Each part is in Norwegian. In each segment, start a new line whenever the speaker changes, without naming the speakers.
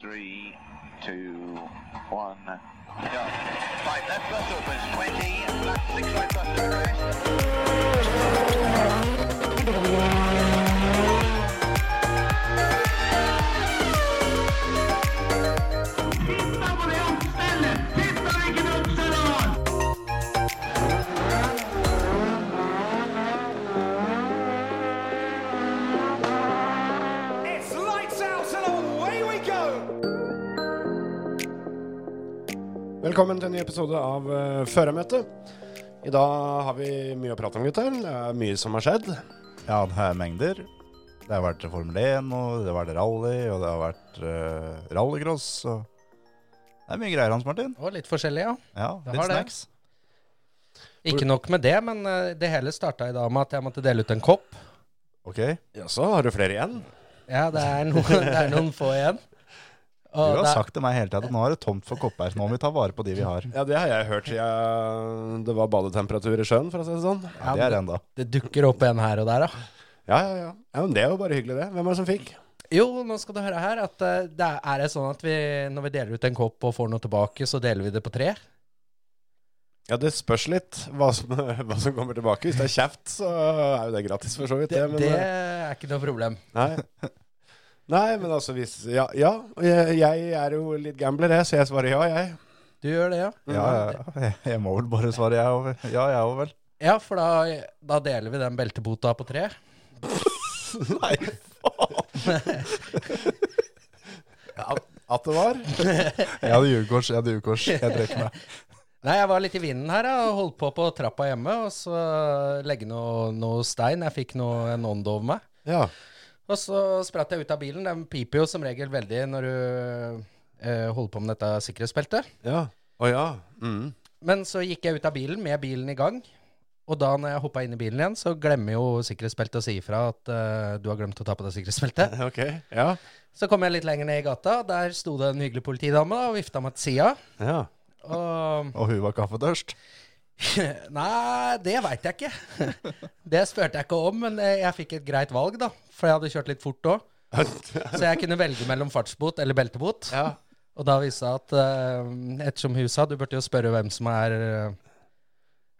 Three, two, one, go. Right, left bus opens 20, black six right bus to arrest.
It's lights out and away we go!
Velkommen til en ny episode av uh, Førermøtet. I dag har vi mye å prate om, gutter. Det er mye som har skjedd.
Ja, det er mengder. Det har vært Formel 1, og det har vært rally, og det har vært eh, rallycross. Og det er mye greier, Hans Martin.
Og litt forskjellig, ja.
Ja,
Det
Litt
har det.
snacks.
Ikke nok med det, men eh, det hele starta i dag med at jeg måtte dele ut en kopp.
Ok.
Jaså, har du flere igjen?
Ja, det er noen, det er noen få igjen.
Du
Og
har
det, er-
sagt til meg hele tida at nå er det tomt for kopper. så Nå må vi ta vare på de vi har.
Mm.
Ja, det har jeg hørt siden det var badetemperatur i sjøen, for å si det sånn.
Ja, det er enda.
det dukker opp en her og der, da.
Ja, ja, ja. ja men det er jo bare hyggelig, det. Hvem er det som fikk?
Jo, nå skal du høre her at eh, det er, er det sånn at vi, når vi deler ut en kopp og får noe tilbake, så deler vi det på tre?
Ja, det spørs litt hva som, hva som kommer tilbake. Hvis det er kjeft, så er jo det gratis, for så vidt.
Det,
Det, men,
det
eh,
er ikke noe problem.
Nei. Nei, men altså hvis Ja, ja. Jeg, jeg er jo litt gambler, jeg, så jeg svarer ja, jeg.
Du gjør det, ja?
Ja, ja. Jeg- Jeg må vel bare svare jeg òg. Ja, jeg òg, vel.
Ja, for da, da deler vi den beltebota på tre.
Nei, faen.
At det var.
Jeg hadde julekors, jeg hadde julekors. Jeg trekker meg.
Nei, jeg var litt i vinden her da, og holdt på på trappa hjemme, og så legge noe, noe stein. Jeg fikk noe, en ånd over meg.
Ja.
Og så spratt jeg ut av bilen. Den piper jo som regel veldig når du eh, holder på med dette sikkerhetsbeltet.
Ja. Å ja. Mm.
Men så gikk jeg ut av bilen med bilen i gang. Og da når jeg hoppa inn i bilen igjen, så glemmer jo sikkerhetsbeltet å si ifra at eh, du har glemt å ta på deg sikkerhetsbeltet.
Ok. Ja.
Så kom jeg litt lenger ned i gata, og der sto det en hyggelig politidame da, og vifta meg til sida.
ja.
Og
Og hun var kaffetørst.
Nei, det veit jeg ikke. Det spurte jeg ikke om, men eh, jeg fikk et greit valg, da. For jeg hadde kjørt litt fort òg. Så jeg kunne velge mellom fartsbot eller beltebot.
ja.
Og da viste det seg at eh, ettersom hun sa du burde jo spørre hvem som er eh,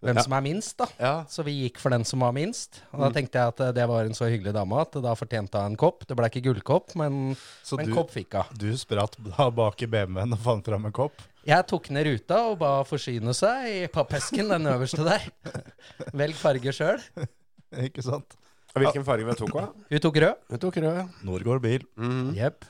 hvem
Ja.
som er minst, da.
Ja.
Så vi gikk for den som var minst. Og da tenkte jeg at eh, det var en så hyggelig dame at da fortjente hun en kopp. Det ble ikke gullkopp, men
Så
en
du-
kopp fikk hun.
Du spratt da bak i BMW-en og fant fram en kopp.
Jeg tok ned ruta og ba forsyne seg i pappesken, den øverste der. Velg farge sjøl.
Ikke sant?
Og Hvilken farge tok hun?
Hun tok rød.
Hun tok rød. ja. Mm.
Norgård bil.
Jepp.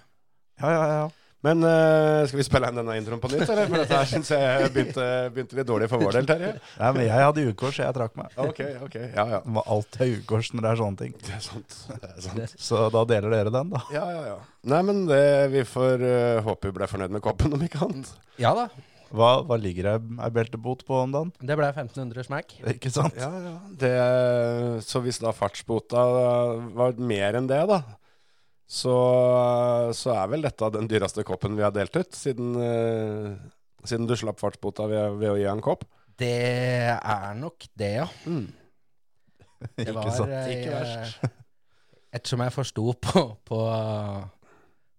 Ja, ja, ja.
Men eh, skal vi spille inn denne introen på nytt, eller? For dette her syns jeg begynte, begynte litt dårlig for vår del, Terje.
Nei, men jeg hadde julekors, jeg trakk meg.
Ok, ok. Ja, ja.
Det må alltid ha julekors når det er sånne ting.
Det er sant. Det er sant.
Så da deler dere den, da.
Ja, ja, ja. Nei, men det, vi får eh, håpe vi ble fornøyd med koppen, om ikke annet.
Ja da.
Hva, hva ligger ei ei beltebot på om dagen?
Det ble 1500 smekk.
Ikke sant?
Ja, ja. Det, så hvis da fartsbota eh, var mer enn det, da, så, eh, så er vel dette den dyreste koppen vi har delt ut, siden, eh, siden du slapp fartsbota ved, ved å gi en kopp.
Det er nok det, ja. Det
Ikke sant?
eh,
Ikke verst.
Ettersom jeg forsto på, på,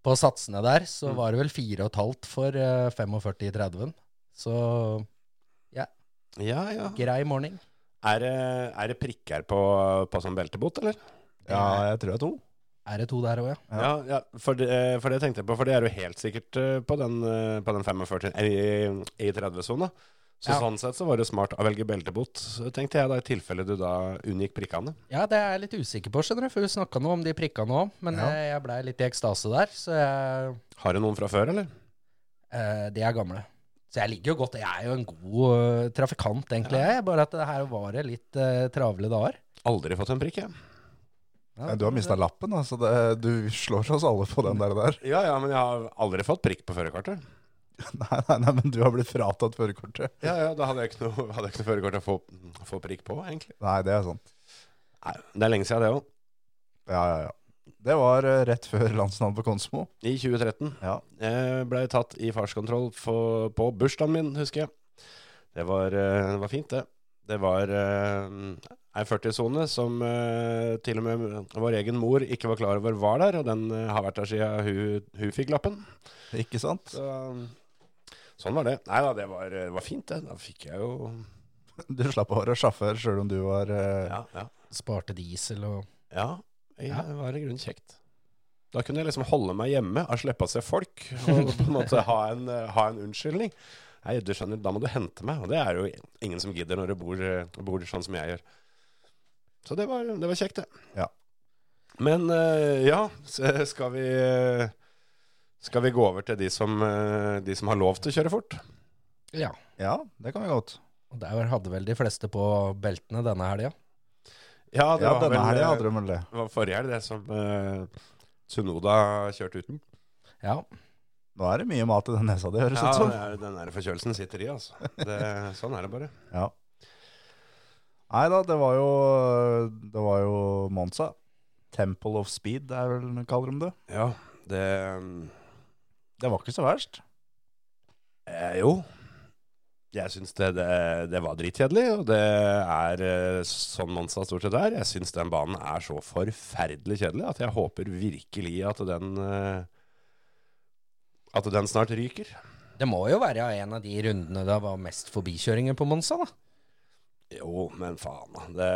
på satsene der, så
Mm.
var det vel 4,5 for eh, 45 i 30-en. Så
Ja, ja.
grei morning.
Er det, er det prikker på, på sånn beltebot, eller?
Ja, jeg tror det er to.
Er det to der òg, ja?
Ja.
Ja, ja for, det, eh, for det tenkte jeg på, for det er jo helt sikkert eh, på den, eh, på den 45, eh, i, i 30-sona. Så
Ja.
sånn sett så var det smart å velge beltebot, tenkte jeg da, i tilfelle du da unngikk prikkene.
Ja, det er jeg litt usikker på, skjønner du. For hun snakka noe om de prikkene òg. Men
Ja.
eh, jeg blei litt i ekstase der, så jeg
Har du noen fra før, eller?
Eh, de er gamle. Så jeg liker jo godt Jeg er jo en god eh, trafikant, egentlig. Jeg, bare at det her var det litt eh, travle dager.
Aldri fått en prikk, jeg.
Men Du har mista lappen, da, så det, du slår oss alle på den der. der.
Ja, ja, men jeg har aldri fått prikk på førerkortet.
Nei, nei, nei, men du har blitt fratatt førerkortet.
Ja, ja, da hadde jeg ikke noe, hadde jeg ikke noe førerkort å få, få prikk på, egentlig.
Nei, det er sant.
Nei, det er lenge siden det òg.
Ja, ja, ja. Det var eh, rett før landsnavn på Konsmo.
I 2013.
Ja.
Jeg ble tatt i fartskontroll for, på bursdagen min, husker jeg. Det var, eh, det var fint, det. Det var eh, ei 40-sone som eh, til og med vår egen mor ikke var klar over var der, og den eh, har vært der siden hun, hun fikk lappen.
Ikke sant?
Så, sånn var det. Nei da, det var, det var fint, det. Da fikk jeg jo
Du slapp å være sjåfør sjøl om du var eh,
Ja, ja.
Sparte diesel og
ja, ja det var i grunnen kjekt. Da kunne jeg liksom holde meg hjemme og slippe å se folk, og på en måte ha en, eh, ha en unnskyldning. Nei, du skjønner, da må du hente meg, og det er jo ingen som gidder når du bor, eh, bor sånn som jeg gjør. Så det var, det var kjekt, det.
Ja.
Men eh, ja, så skal vi eh, Skal vi gå over til de som, eh, de som har lov til å kjøre fort?
Ja.
Ja, det kan vi godt.
Og der hadde vel de fleste på beltene denne helga.
Ja,
Ja, denne
vel,
helga
eh,
hadde de vel det.
Det var forrige helg det som eh, Sunoda kjørte uten.
Ja.
Nå er det mye mat i den nesa di, høres det
Ja, den,
ut som.
er, den der forkjølelsen sitter i, altså. Det, sånn er det bare.
Ja. Nei da, det var jo Det var jo Monza. Temple of Speed, det er vel kaller de det.
Ja, det eh,
Det var ikke så verst.
eh, Jo. Jeg syns det, det, det var dritkjedelig, og det er eh, sånn Monza stort sett er. Jeg syns den banen er så forferdelig kjedelig at jeg håper virkelig at den eh, At den snart ryker.
Det må jo være en av de rundene det var mest forbikjøringer på Monsa, da.
Jo, men faen, da. Det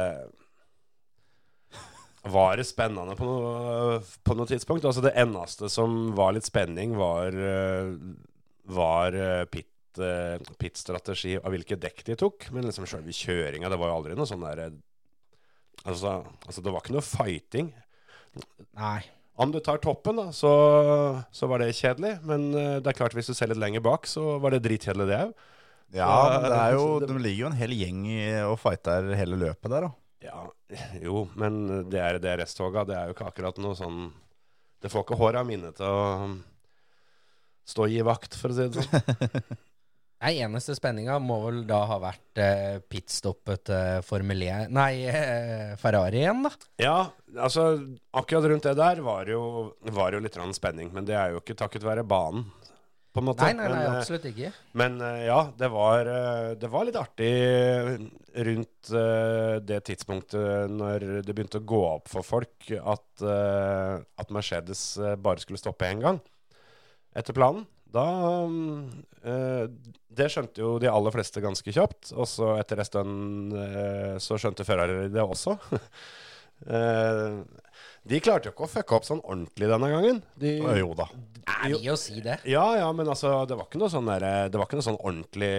var det spennende på noe, på noe tidspunkt. Altså Det eneste som var litt spenning, var, eh, var eh, pit, eh, pit-strategi av hvilke dekk de tok. Men liksom sjølve kjøringa, det var jo aldri noe sånn derre altså, altså, det var ikke noe fighting.
Nei.
Om du tar toppen, da, så, så var det kjedelig. Men eh, det er klart, hvis du ser litt lenger bak, så var det dritkjedelig, det òg.
Ja,
Ja,
men det er jo,
så det-
de ligger jo en hel gjeng i- og fighter hele løpet der, da.
Ja, jo, men det er det resttoga. Det er jo ikke akkurat noe sånn Det får ikke håret av mine til å um, stå i vakt, for å si det sånn.
Nei, eneste spenninga må vel da ha vært eh, pitstoppet til Formel 1 Nei, eh, Ferrari igjen, da.
Ja, altså akkurat rundt det der var det jo, var det jo litt grann spenning, men det er jo ikke takket være banen, på en måte.
Nei, nei, nei,
men, eh,
absolutt ikke.
Men eh, ja, det var, eh, det var litt artig rundt eh, det tidspunktet når det begynte å gå opp for folk at, eh, at Mercedes eh, bare skulle stoppe én gang etter planen. Da mm, eh, Det skjønte jo de aller fleste ganske kjapt. Og så etter en stund eh, så skjønte Ferrari det også. Eh, de klarte jo ikke å fucke opp sånn ordentlig denne gangen. De,
Å, Jo da.
Er vi å si det?
ja, ja, men altså, det var ikke noe sånn, der, det var ikke noe sånn ordentlig,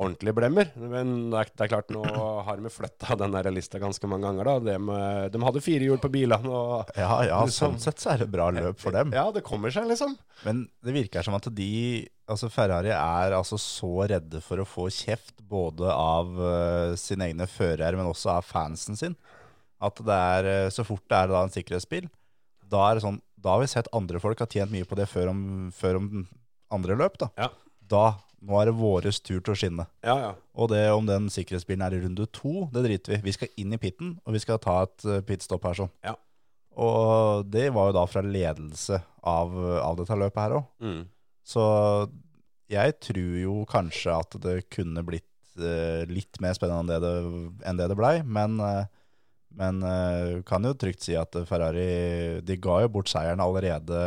ordentlig blemmer. Men det er, det er klart, nå har vi flytta den der lista ganske mange ganger, da. De, de hadde fire hjul på bilene, og
Ja, ja,
Liksom.
sånn sett så er det bra løp for dem.
ja, det kommer seg, liksom.
Men det virker som at de, altså Ferrari er altså så redde for å få kjeft både av eh, sine egne førere, men også av fansen sin, at det er, eh, så fort det er da en sikkerhetsbil, da er det sånn, da har vi sett andre folk har tjent mye på det før om, før om den andre løp da.
Ja.
Da, nå er det våres tur til å skinne.
Ja, ja.
Og det om den sikkerhetsbilen er i runde to, det driter vi. Vi skal inn i pitten, og vi skal ta et eh, pitstop her sånn.
Ja.
Og det var jo da fra ledelse av, av dette løpet her òg.
Mm.
Så jeg tror jo kanskje at det kunne blitt eh, litt mer spennende enn det det, enn det, det blei, men, eh, men eh, kan jo trygt si at Ferrari De ga jo bort seieren allerede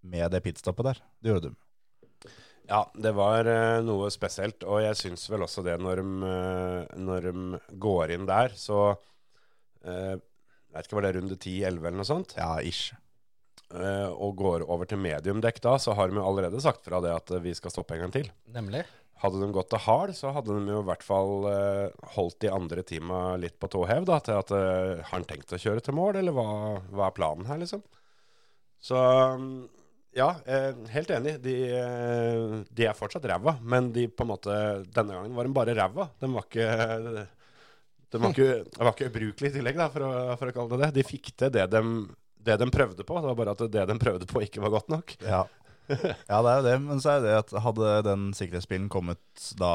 med det pitstoppet der. Det gjorde de.
Ja, det var eh, noe spesielt, og jeg syns vel også det når de, eh, når de går inn der, så eh, Jeg vet ikke, var det runde 10-11 eller noe sånt?
Ja, ish.
Eh, og går over til mediumdekk da, så har de jo allerede sagt fra det at eh, vi skal stoppe en gang til.
Nemlig.
Hadde de gått til hard, så hadde de jo i hvert fall eh, holdt de andre teama litt på tå hev. da, Til at eh, har han tenkt å kjøre til mål, eller hva, hva er planen her, liksom? Så mm, ja, eh, helt enig. De, eh, de er fortsatt ræva, men de på en måte Denne gangen var de bare ræva. De var ikke de var ikke, de var ikke ubrukelige i tillegg, da, for, å, for å kalle det det. De fikk til det de, det de prøvde på. Det var bare at det de prøvde på, ikke var godt nok.
Ja. ja, det er jo det. Men så er det at hadde den sikkerhetsbilen kommet da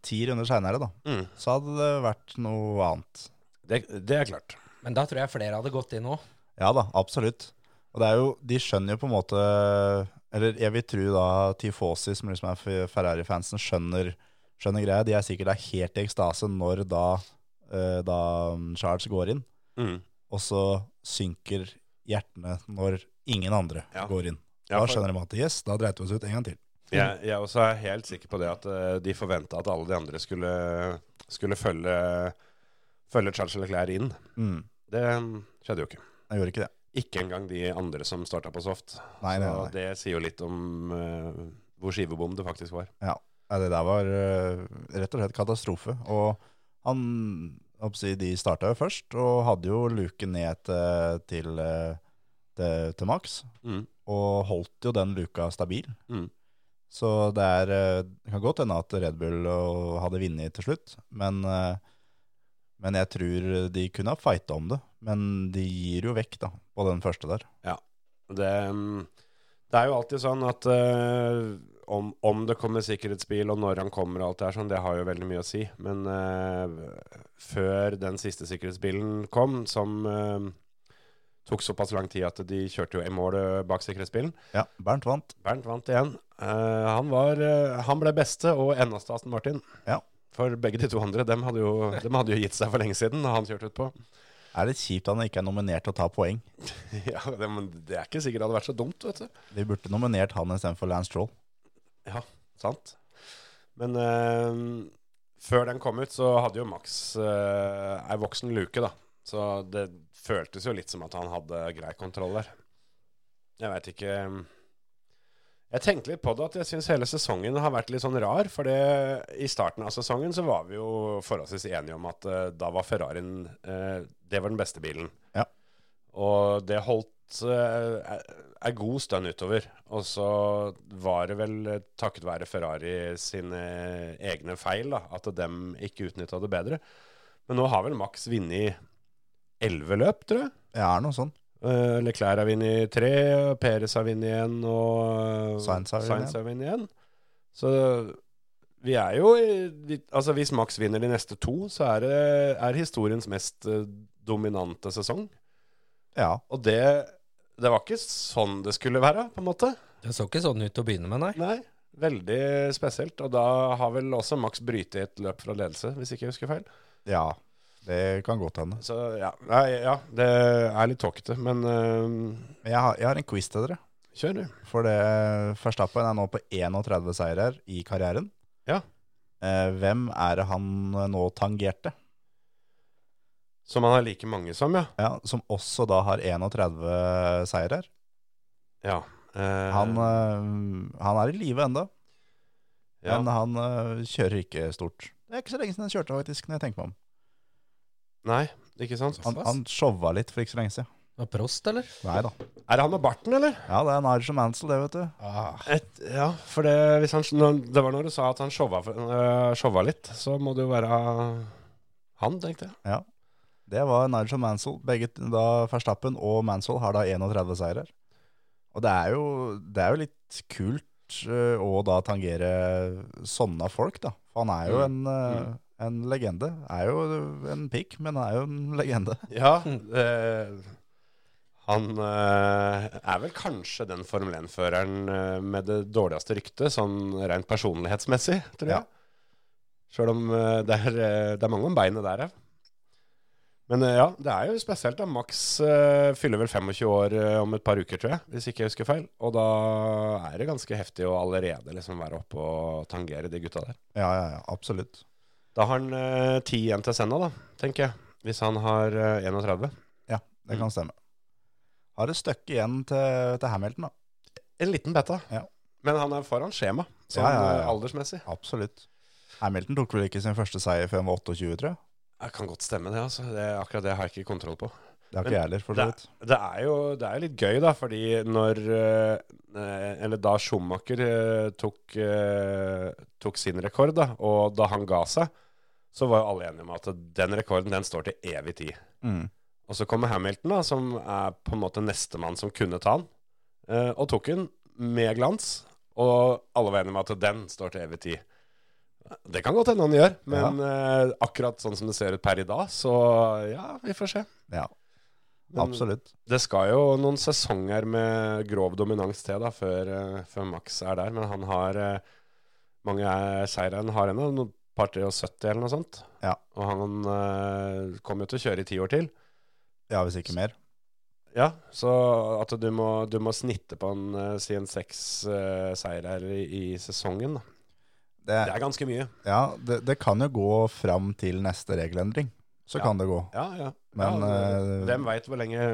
ti runder seinere, da,
Mm.
så hadde det vært noe annet.
Det, det er klart.
Men da tror jeg flere hadde gått inn òg.
Ja da, absolutt. Og det er jo, de skjønner jo på en måte Eller jeg vil tro da Tifosi, som liksom er Ferrari-fansen, skjønner, skjønner greia. De er sikkert da helt i ekstase når da eh, da Charles går inn,
Mm.
og så synker hjertene når ingen andre
Ja.
går inn.
Ja,
Da
for-
skjønner de at yes, da dreit vi oss ut en gang til.
Jeg, jeg også er helt sikker på det at eh, de forventa at alle de andre skulle, skulle følge, følge Charles Leclerc inn.
Mm.
Det skjedde jo ikke.
Jeg gjorde ikke det.
Ikke engang de andre som starta på soft.
Nei, nei,
Og
nei.
det sier jo litt om eh, hvor skivebom det faktisk var.
Ja. Nei, det der var eh, rett og slett katastrofe. Og han jeg håper å si, De starta jo først, og hadde jo luken ned til, til, eh, til, til maks.
Mm.
Og holdt jo den luka stabil.
Mm.
Så det er eh, Det kan godt hende at Red Bull og- hadde vunnet til slutt, men eh, men jeg tror de kunne ha fighta om det. Men de gir jo vekk, da, på den første der.
Det, mm, det er jo alltid sånn at eh, om, om det kommer sikkerhetsbil, og når han kommer og alt det her sånn, det har jo veldig mye å si. Men eh, før den siste sikkerhetsbilen kom, som eh, tok såpass lang tid at de kjørte jo i mål eh, bak sikkerhetsbilen
Ja, Bernt vant.
Bernt vant igjen. Eh, han, var, eh, han ble beste og eneste Aston Martin.
Ja.
For begge de to andre, dem hadde, jo, dem hadde jo gitt seg for lenge siden da han kjørte utpå.
Er litt kjipt at han ikke er nominert til å ta poeng.
Ja, det, men det er ikke sikkert det hadde vært så dumt, vet du.
De burde nominert han istedenfor Lance Troll.
Sant? Men eh, før den kom ut, så hadde jo Max uh, ei voksen luke, da. Så det føltes jo litt som at han hadde grei kontroll der. Jeg veit ikke eh, Jeg tenkte litt på det at jeg syns hele sesongen har vært litt sånn rar. For det, i starten av sesongen så var vi jo forholdsvis enige om at eh, da var Ferrarien eh, Det var den beste bilen.
Ja.
Og det holdt eh, ei god stund utover. Og så var det vel eh, takket være Ferrari sine egne feil da, at dem ikke utnytta det bedre. Men nå har vel Max vunnet elleve løp, tror jeg.
Det er noe sånn.
Eh, Leclerc har vunnet tre, og Perez har vunnet igjen, og eh,
Sainz har vunnet
Sainz har vunnet igjen. Så vi er jo i- vi- Altså, hvis Max vinner de neste to, så er det er historiens mest eh, dominante sesong.
Ja.
Og det Det var ikke sånn det skulle være, på en måte.
Det så ikke sånn ut til å begynne med, nei.
Nei. Veldig spesielt. Og da har vel også Max brytet et løp fra ledelse, hvis ikke jeg husker feil.
ja. Det kan godt hende.
Så ja, Nei, ja det er litt tåkete, men eh,
Men Jeg har, jeg har en quiz til dere.
kjør, du.
For det Verstappen er nå på 31 seirer i karrieren.
Ja.
Eh, hvem er det han eh, nå tangerte?
Som han har like mange som, ja.
Ja, som også da har 31 seirer.
ja. eh,
Han, eh, han er i live ennå,
ja.
men han eh, kjører ikke stort. Det er ikke så lenge siden han kjørte, faktisk, når jeg tenker meg om.
Nei, ikke sant?
Han, han showa litt for ikke så lenge siden.
Var Prost, eller?
Nei da.
er det han med barten, eller?
Ja, det er Nigel Mansell, det, vet du.
Et, ja, for det, hvis han, når, det var når du sa at han showa, eh, showa litt, så må det jo være han, tenkte jeg.
Ja. Det var Nigel Mansell. Begge da Verstappen og Mansell har da 31 seirer. Og det er jo, det er jo litt kult eh, å da tangere sånne folk, da. For han er jo
Mm.
en, eh, en legende. Er jo en pikk, men er jo en legende.
Ja, eh, han eh, er vel kanskje den Formel 1-føreren eh, med det dårligste ryktet, sånn rent personlighetsmessig, tror jeg.
Ja.
Sjøl om eh, det, er, eh, det er mange om beinet der, ja. Men eh, ja, det er jo spesielt. da. Max eh, fyller vel 25 år eh, om et par uker, tror jeg, hvis ikke jeg husker feil. Og da er det ganske heftig å allerede liksom være oppe og tangere de gutta der.
Ja, ja, ja, absolutt.
Da har han eh, 10 igjen til Senna, da, tenker jeg. Hvis han har eh, 31.
Ja, det kan
Mm.
stemme. Har et stykke igjen til, til Hamilton, da.
En liten beta.
Ja.
Men han er foran skjema, sånn
Ja, ja, ja.
eh, aldersmessig.
Absolutt. Hamilton tok vel ikke sin første seier før han var 28, tror jeg.
Det kan godt stemme, det. altså. Det, akkurat det har jeg ikke kontroll på.
Det har
Men
ikke jeg heller, for så
det-
vidt.
Det er jo det er jo litt gøy, da, fordi når eh, eh, Eller da Schumacher eh, tok, eh, tok sin rekord, da, og da han ga seg, så var jo alle enige om at den rekorden den står til evig tid.
Mm.
Og så kommer Hamilton, da, som er på en måte nestemann som kunne ta han, eh, og tok han med glans. Og alle var enige om at den står til evig tid. Det kan godt hende han gjør, men eh, akkurat sånn som det ser ut per i dag, så ja, vi får se.
Ja,
Men
absolutt.
Det skal jo noen sesonger med grov dominans til da, før, eh, før Max er der, men han har eh, mange eh, seire han har ennå. No- par 73 eller noe sånt.
Ja.
Og han eh, kommer jo til å kjøre i ti år til.
Ja, hvis ikke mer.
Ja, så at du må, du må snitte på en, eh, si en seks eh, seirer i, i sesongen. Da.
Det,
Det er ganske mye.
ja, det, det kan jo gå fram til neste regelendring. Så
Ja.
kan det gå.
Ja, ja.
Men,
ja,
eh,
Hvem veit hvor lenge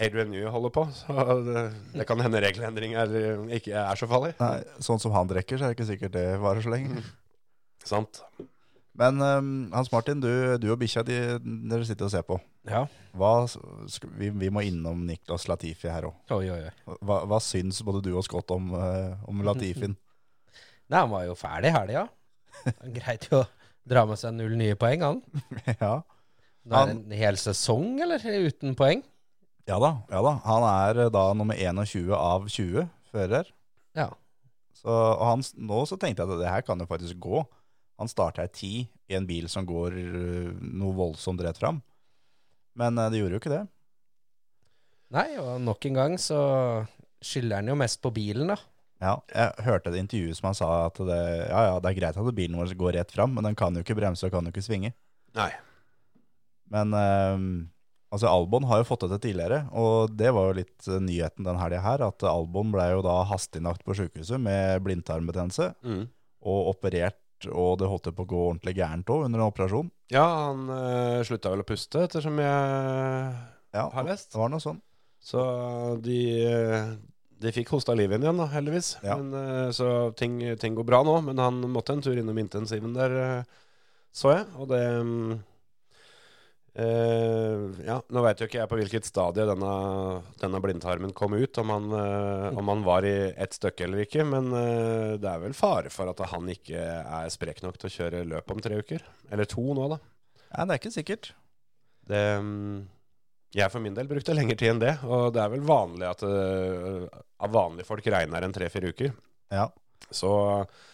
Adrian New holder på? Så det, det kan hende regelendring er, eh, ikke er så farlig.
Nei, sånn som han drikker, så er det ikke sikkert det varer så lenge.
Sant.
Men eh, Hans Martin, du, du og bikkja de, dere sitter og ser på.
Ja.
Hva, s- skal, vi, vi må innom Niklas Latifi her òg.
Oi, oi, oi.
Hva, hva syns både du og Scott om, eh, om Latifin?
Nei, han var jo ferdig i helga. Han Greit jo å dra med seg null nye poeng, han.
ja.
Da er det en hel sesong, eller? Uten poeng.
ja da. ja da. Han er eh, da nummer 21 av 20 fører.
Ja.
Så, og han, s- nå så tenkte jeg at det her kan jo faktisk gå. Han starta i 10 i en bil som går eh, noe voldsomt rett fram. Men eh, det gjorde jo ikke det.
Nei, og nok en gang så skylder han jo mest på bilen, da.
Ja, jeg hørte et intervju som han sa at det, ja, ja, det er greit at bilen vår går rett fram, men den kan jo ikke bremse og kan jo ikke svinge.
Nei.
Men eh, altså Albon har jo fått det til tidligere, og det var jo litt eh, nyheten den helga her, at Albon ble jo da hastinnlagt på sykehuset med blindtarmbetennelse
Mm.
og operert, og det holdt jo på å gå ordentlig gærent òg under en operasjon.
Ja, han eh, slutta vel å puste, ettersom jeg
Ja,
Har lest.
Det var noe sånn.
Så de, eh, de fikk hosta livet inn igjen, da, heldigvis.
Ja.
Men, eh, så ting, ting går bra nå, men han måtte en tur innom intensiven der, eh, så jeg. Og det mm, eh, Ja, nå veit jo ikke jeg på hvilket stadie denne, denne blindtarmen kom ut, om han, eh, om han var i ett stykke eller ikke, men eh, det er vel fare for at han ikke er sprek nok til å kjøre løp om tre uker. Eller to nå, da.
Nei, det er ikke sikkert.
Det, mm, jeg for min del brukte lengre tid enn det, og det er vel vanlig at øh, av vanlige folk regner en tre-fire uker.
Ja.
Så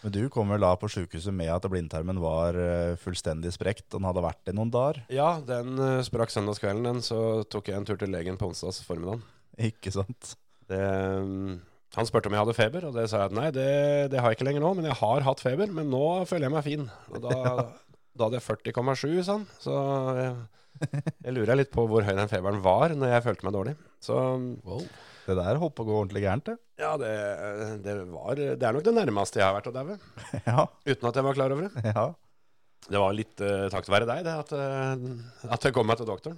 Men du kom vel da på sykehuset med at blindtarmen var eh, fullstendig sprekt, den hadde vært det noen dager.
ja, den øh, sprakk søndagskvelden, den, så tok jeg en tur til legen på onsdags formiddagen.
Ikke sant?
Det, mm, han spurte om jeg hadde feber, og det sa jeg at nei, det, det har jeg ikke lenger nå, men jeg har hatt feber, men nå føler jeg meg fin. Og da, da hadde jeg 40,7, sa han, så jeg, jeg lurer litt på hvor høy den feberen var når jeg følte meg dårlig. Så mm,
Det der holdt på å gå ordentlig gærent, det.
ja, det, det var Det er nok det nærmeste jeg har vært å daue.
Ja,
Uten at jeg var klar over det.
ja.
Det var litt eh, takket være deg, det, at, eh, at jeg kom meg til doktoren.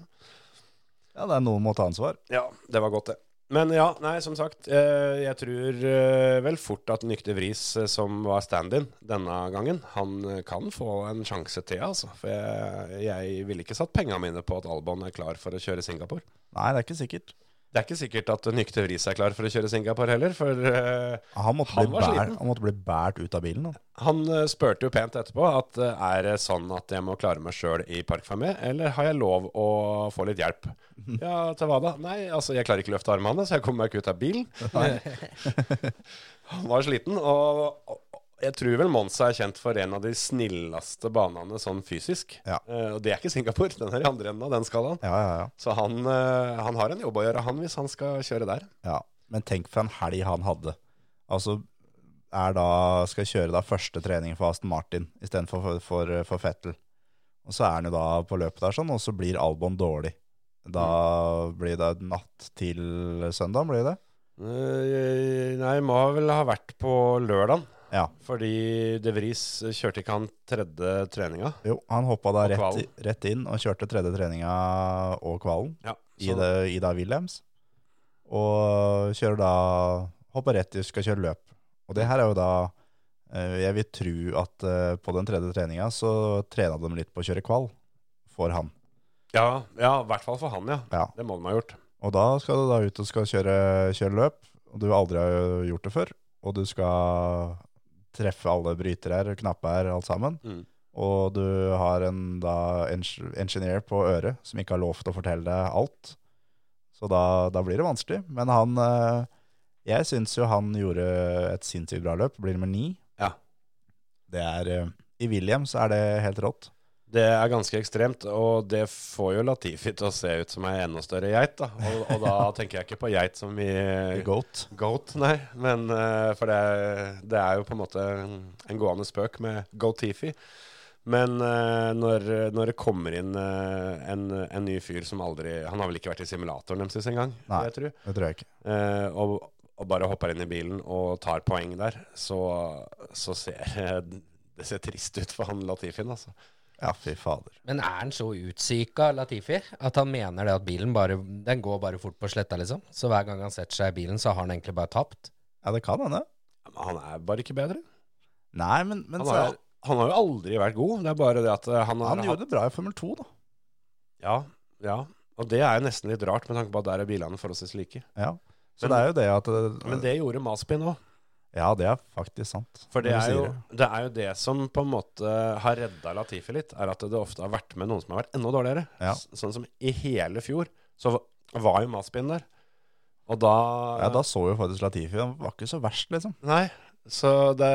ja det er noen må ta ansvar.
Ja, det var godt, det. Men ja, nei, som sagt. eh, jeg tror eh, vel fort at Nykte Vris, eh, som var stand-in denne gangen, han eh, kan få en sjanse til, altså. For jeg, jeg ville ikke satt penga mine på at Albon er klar for å kjøre Singapore.
Nei, det er ikke sikkert.
Det er ikke sikkert at Nykte Vris er klar for å kjøre Singapore heller, for eh,
Han måtte,
Han
bli,
var
bær,
sliten.
han måtte bli bært ut av bilen. Da.
Han eh, spurte jo pent etterpå at eh, er det sånn at jeg må klare meg sjøl i Parc Fermé, eller har jeg lov å få litt hjelp? Ja, til hva da? Nei, altså jeg klarer ikke løfte armene, så jeg kommer meg ikke ut av bilen. Han var sliten, og og jeg tror vel Monza er kjent for en av de snilleste banene sånn fysisk.
Ja.
Eh, Og det er ikke Singapore, den er i andre enden av den skalaen.
Ja, ja, ja.
Så han, eh, han har en jobb å gjøre, han, hvis han skal kjøre der.
ja. Men tenk for en helg han hadde. Altså, er da, skal kjøre da første trening for Aston Martin istedenfor for, for, for Fettel. Og så er han jo da på løpet der sånn, og så blir Albon dårlig. Da
Mm.
blir det natt til søndag, blir det?
Eh, Nei, må vel ha vært på lørdagen.
Ja.
Fordi De Vries kjørte ikke han tredje treninga.
Jo, han hoppa da
Og
rett,
kvalen.
i- rett inn og kjørte tredje treninga og kvalen.
Ja,
i det, Ida Williams. Og kjører da Hopper rett i skal kjøre løp. Og det her er jo da eh, Jeg vil tro at eh, på den tredje treninga så trena de litt på å kjøre kval for han.
ja, ja, i hvert fall for han, ja.
Ja.
Det må de ha gjort.
Og da skal du da ut og skal kjøre, kjøre løp, og du aldri har gjort det før. Og du skal treffe alle brytere her, knapper her, alt sammen.
Mm.
Og du har en da eng- engineer på øret som ikke har lov til å fortelle deg alt. Så da, da blir det vanskelig. Men han eh, Jeg syns jo han gjorde et sinnssykt bra løp. Blir nummer ni.
Ja.
Det er eh, I Williams er det helt rått.
Det er ganske ekstremt, og det får jo Latifi til å se ut som ei enda større geit. da. Og, og da tenker jeg ikke på geit som i
Goat.
Goat, nei. Men, eh, for det, det er jo på en måte en gående spøk med Goatifi. Men eh, når, når det kommer inn eh, en, en ny fyr som aldri Han har vel ikke vært i simulatoren deres engang,
Nei.
vil jeg tro.
Det tror jeg ikke.
Eh, og, og bare hopper inn i bilen og tar poeng der, så, så ser det ser trist ut for han Latifin, altså.
Ja, fy fader.
Men er han så utsyka, Latifi, at han mener det at bilen bare Den går bare fort på sletta, liksom? Så hver gang han setter seg i bilen, så har han egentlig bare tapt?
Ja, det kan hende.
Ja, Men han er bare ikke bedre.
Nei, men, men
Han
så
har,
er,
jo- han har jo aldri vært god. Det er bare det at eh, han har
han gjorde det bra i Formel 2, da.
Ja, ja. Og det er jo nesten litt rart, med tanke på at der er bilene forholdsvis like.
Ja. Så
Men-
det er jo det at eh,
Men det gjorde Maspin òg.
Ja, det er faktisk sant.
For det
når du
er, jo,
sier det.
det er jo det som på en måte har redda Latifi litt, er at det ofte har vært med noen som har vært enda dårligere.
Ja.
S- Sånn som i hele fjor, så var jo Maspin der. Og da,
Ja, da så jo faktisk Latifi. Han var ikke så verst, liksom.
Nei, så det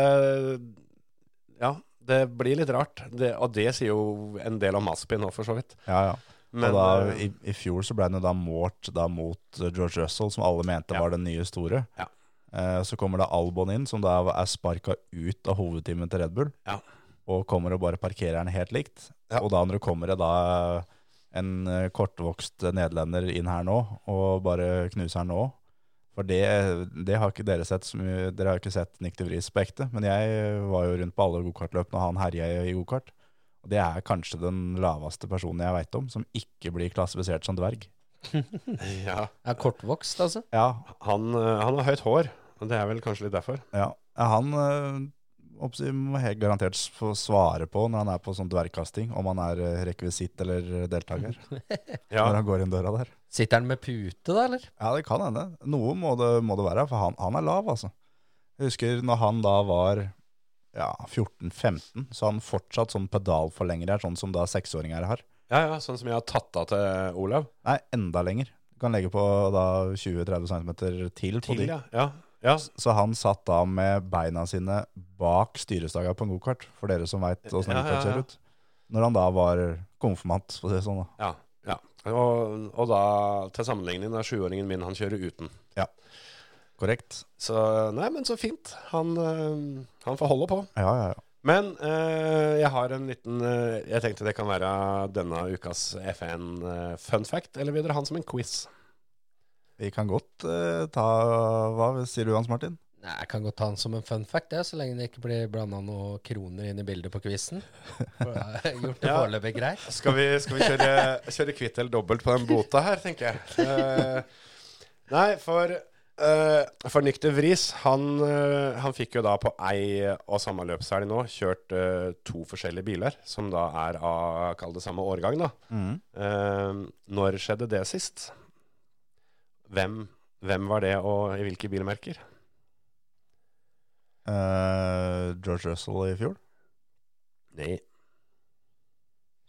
Ja, det blir litt rart. Det, og det sier jo en del om Maspin nå, for så vidt.
Ja, ja.
Men,
og da,
eh,
i, I fjor så ble han jo da målt da mot eh, George Russell, som alle mente
Ja.
var den nye store.
Ja.
Eh, så kommer da Albon inn, som da er sparka ut av hovedteamet til Red Bull.
Ja.
Og kommer og bare parkerer den helt likt.
Ja.
Og da når det kommer det da en eh, kortvokst nederlender inn her nå, og bare knuser han nå For det, det har ikke dere sett så mye Dere har ikke sett Nick de Vries på ekte, men jeg var jo rundt på alle gokartløpene, og han herja i- i gokart. Og det er kanskje den laveste personen jeg veit om som ikke blir klassifisert som dverg.
ja,
Er kortvokst, altså?
Ja,
han, eh, han har høyt hår, og det er vel kanskje litt derfor.
ja. Han eh, oppsi- må helt garantert s- få svare på når han er på sånn dvergkasting, om han er eh, rekvisitt eller deltaker,
Ja,
når han går inn døra der.
Sitter han med pute, da, eller?
Ja, det kan hende. Noe må det, må det være, for han, han er lav, altså. Jeg husker når han da var ja, 14-15, så han fortsatt sånn pedalforlenger her, sånn som da seksåringer har.
ja, ja sånn som jeg har tatt av til Olav.
Nei, enda lenger. Du kan legge på da 20-30 cm til, på
Til,
de.
ja. ja. Ja,
Så han satt da med beina sine bak styrestaga på en gokart, for dere som veit åssen
Ja,
en
ja,
gokart
ja.
ser ut. Når han da var konfirmant, for å si det sånn.
Ja,
da.
ja. Og, og da til sammenligning er sjuåringen min han kjører uten.
Korrekt.
Så nei, men så fint. Han, øh, han får holde på.
Ja, ja, ja.
Men øh, jeg har en liten øh, Jeg tenkte det kan være denne ukas F1 øh, fun fact, eller vil dere ha den som en quiz?
Vi kan godt eh, ta Hva sier du, Hans Martin?
Nei, jeg kan godt ta den som en fun fact, det, så lenge det ikke blir blanda noen kroner inn i bildet på quizen. Gjort det
Ja.
foreløpig greit.
Skal vi, skal vi kjøre, kjøre kvitt eller dobbelt på den bota her, tenker jeg. Eh, nei, for uh, For Nick de Vries, han, eh, han fikk jo da på ei og samme løpshelg nå kjørt eh, to forskjellige biler, som da er av kall det samme årgang, da.
Mm.
Eh, når skjedde det sist? Hvem, hvem var det, og i hvilke bilmerker?
Eh, George Russell i fjor?
Nei.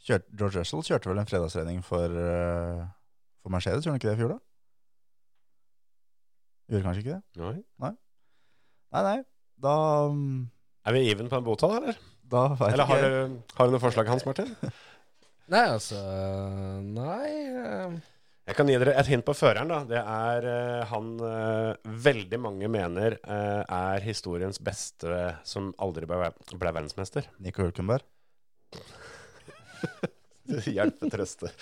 Kjørte, George Russell kjørte vel en fredagstrening for, eh, for Mercedes, gjorde han ikke det i fjor, da? Gjorde kanskje ikke det?
Nei.
Nei, nei. Da, mm,
Er vi even på den bota, da, eller?
da veit
Eller
ikke
har du, har du noe forslag, Hans Martin?
Nei, altså Nei. eh,
Jeg kan gi dere et hint på føreren. da. Det er eh, han eh, veldig mange mener eh, er historiens beste som aldri ble, ble verdensmester.
Nico Hulkenberg.
Hjelpe, trøste.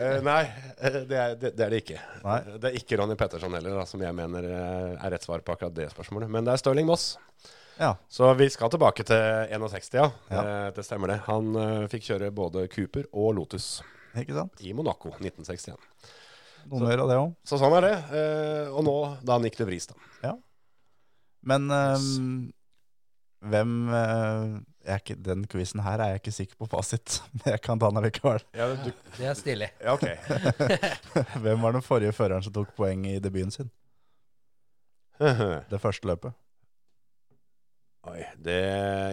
Eh, nei, eh, det er det, det er det ikke.
Nei.
Det er ikke Ronny Petterson heller, da, som jeg mener eh, er rett svar på akkurat det spørsmålet. Men det er Stirling Moss.
Ja.
Så vi skal tilbake til 61, ja.
Ja.
Eh, det stemmer det. Han eh, fikk kjøre både Cooper og Lotus
Ikke sant?
i Monaco 1961.
Noen gjør av det òg.
Så sånn er det. Eh, og nå da Nick de Vries, da.
Men ehm, hvem eh, jeg er ikke, Den quizen her er jeg ikke sikker på fasit, men jeg kan ta den allikevel.
Ja, du,
Det er stilig.
ja, ok.
Hvem var den forrige føreren som tok poeng i debuten sin?
Oi,
Det første løpet.
det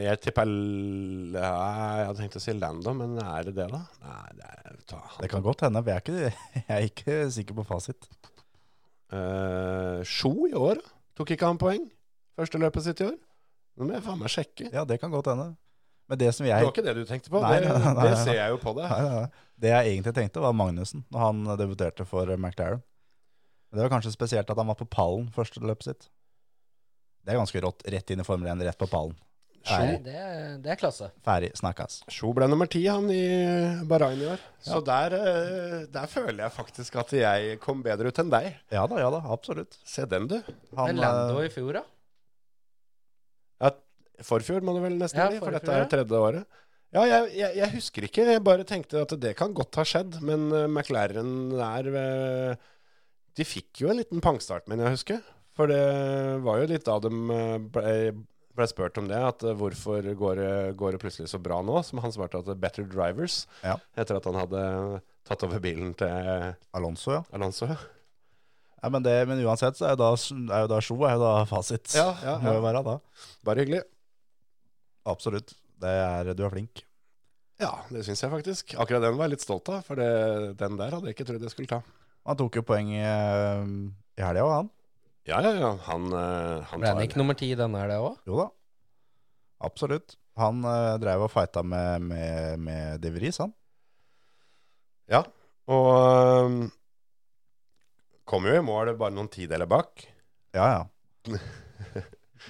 Jeg tipper l- ja, Jeg hadde tenkt å si Lando, men er det det, da? Nei, det er ta han.
Det kan godt hende, for jeg er ikke, jeg er ikke sikker på fasit.
Eh, Sjo i år, da. Tok ikke han poeng? Første løpet sitt i år? Nå må jeg faen meg sjekke.
Ja, det kan godt hende. Men det som
Det
jeg
var ikke det du tenkte på.
Nei,
det,
nei, nei, nei,
det
nei.
ser jeg jo på deg.
Nei, nei, nei. Det jeg egentlig tenkte, var Magnussen når han debuterte for eh, McLaren. Det var kanskje spesielt at han var på pallen første løpet sitt. Det er ganske rått. Rett inn i Formel 1, rett på pallen.
Nei,
Ferdig,
det, er- det er klasse.
ferdig snakkes.
Sjo ble nummer ti han i Bahrain i år. Så der, eh, der føler jeg faktisk at jeg kom bedre ut enn deg.
Ja da, ja da, absolutt.
Se den, du.
Han,
Men Lando
eh,
i fjor, da?
Ja, forfjor må det vel nesten
Ja,
bli, for
forfjor,
dette er
ja.
tredje året. Ja, jeg, jeg, jeg husker ikke. Jeg bare tenkte at det kan godt ha skjedd, men eh, McLaren er eh, De fikk jo en liten pangstart, mener jeg å huske. For det var jo litt da de eh, ble, ble spurt om det, at eh, hvorfor går det, går det plutselig så bra nå? Som han svarte at det er 'better drivers',
Ja.
etter at han hadde eh, tatt over bilen til
Alonso, ja.
Alonso.
ja men, det, men uansett så er jo da, er jo da Sjo er jo da fasit.
Ja, ja,
Må jo
ja.
være da.
Bare hyggelig.
Absolutt. Det er, du er flink.
Ja, det syns jeg faktisk. Akkurat den var jeg litt stolt av, for det, den der hadde jeg ikke trodd jeg skulle ta.
Han tok jo poeng i, eh, i helga òg, han.
Ja, ja, ja. Han, eh, han
Ble han
tar
ikke nummer ti i denne her, det òg?
Jo da. Absolutt. Han eh, drev og fighta med, med, med De Vries, han.
Og eh, kom jo i mål bare noen tideler bak.
Ja, ja.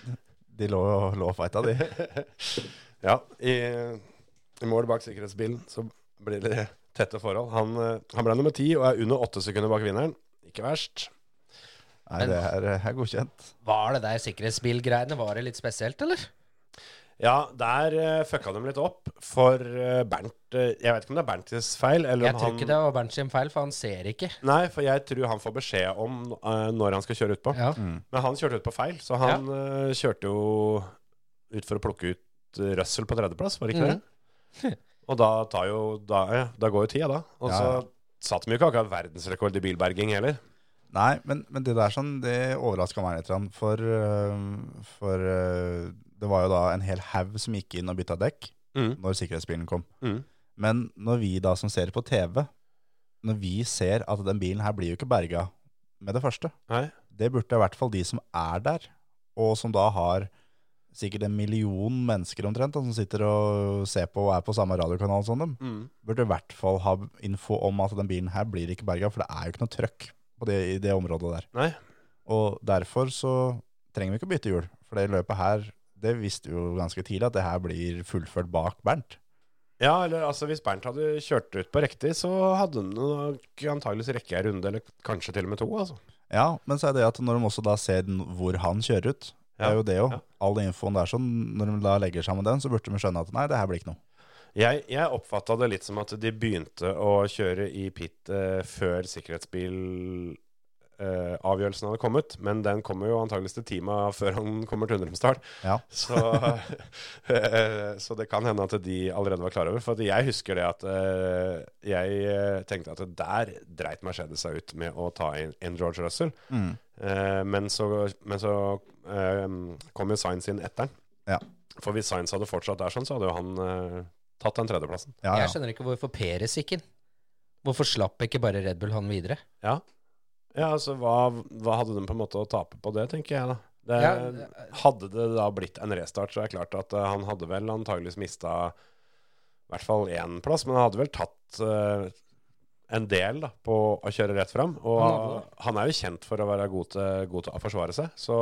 De lå lå og fighta, de.
ja, i, i mål bak sikkerhetsbilen så blir det tette forhold. Han, eh, han ble nummer ti og er under åtte sekunder bak vinneren. Ikke verst.
Nei, det er, er godkjent.
Var det der sikkerhetsbilgreiene Var det litt spesielt, eller?
Ja, der eh, fucka de litt opp for eh, Bernt eh, Jeg vet ikke om det er Berntes feil, eller
Jeg
om
tror
han
ikke det var Bernt sin feil, for han ser ikke.
Nei, for jeg tror han får beskjed om eh, når han skal kjøre utpå.
Ja.
Mm.
Men han kjørte ut på feil, så han eh, kjørte jo ut for å plukke ut eh, Russell på tredjeplass, var det ikke det? Og da, tar jo, da, ja, da går jo tida, da. Og
Ja,
så
ja.
satt de jo ikke akkurat verdensrekord i bilberging heller.
Nei, men, men det der sånn, det overraska meg litt. grann, For, eh, for eh, det var jo da en hel haug som gikk inn og bytta dekk
Mm.
når sikkerhetsbilen kom.
Mm.
Men når vi da som ser på TV, når vi ser at den bilen her blir jo ikke berga med det første.
Nei.
Det burde i hvert fall de som er der, og som da har sikkert en million mennesker omtrent, da, som sitter og ser på og er på samme radiokanal som dem,
Mm.
burde i hvert fall ha info om at den bilen her blir ikke berga, for det er jo ikke noe trøkk på det, i det området der.
Nei.
Og derfor så trenger vi ikke å bytte hjul, for det løpet her, det visste vi jo ganske tidlig at det her blir fullført bak Bernt.
Ja, eller altså hvis Bernt hadde kjørt ut på riktig, så hadde han nok antageligvis rekke en runde, eller kanskje til og med to, altså.
Ja, men så er det at når de også da ser den- hvor han kjører ut, det
Ja,
er jo det jo.
ja.
All infoen der sånn, når de da legger sammen den, så burde de skjønne at nei, det her blir ikke noe.
Jeg, jeg oppfatta det litt som at de begynte å kjøre i pit eh, før sikkerhetsbilavgjørelsen eh, avgjørelsen hadde kommet, men den kommer jo antageligvis til tima før han kommer til Undrumsdal.
Ja.
Så, eh, så det kan hende at de allerede var klar over. For at jeg husker det at eh, jeg eh, tenkte at der dreit Mercedes seg ut med å ta inn en George Russell.
Mm.
Eh, men så, men så eh, kom jo Sainz inn etter den.
Ja.
For hvis Sainz hadde fortsatt der sånn, så hadde jo han eh, tatt den tredjeplassen.
Ja, ja.
Jeg skjønner ikke hvorfor Peres gikk inn. Hvorfor slapp ikke bare Red Bull han videre?
Ja. ja, altså hva, hva hadde de på en måte å tape på det, tenker jeg da. Det,
Ja, det-
hadde det da blitt en restart, så er det klart at eh, han hadde vel antageligvis mista i hvert fall én plass, men han hadde vel tatt eh, en del da, på å kjøre rett fram. Og
Han hadde det.
han er jo kjent for å være god til, god til å forsvare seg, så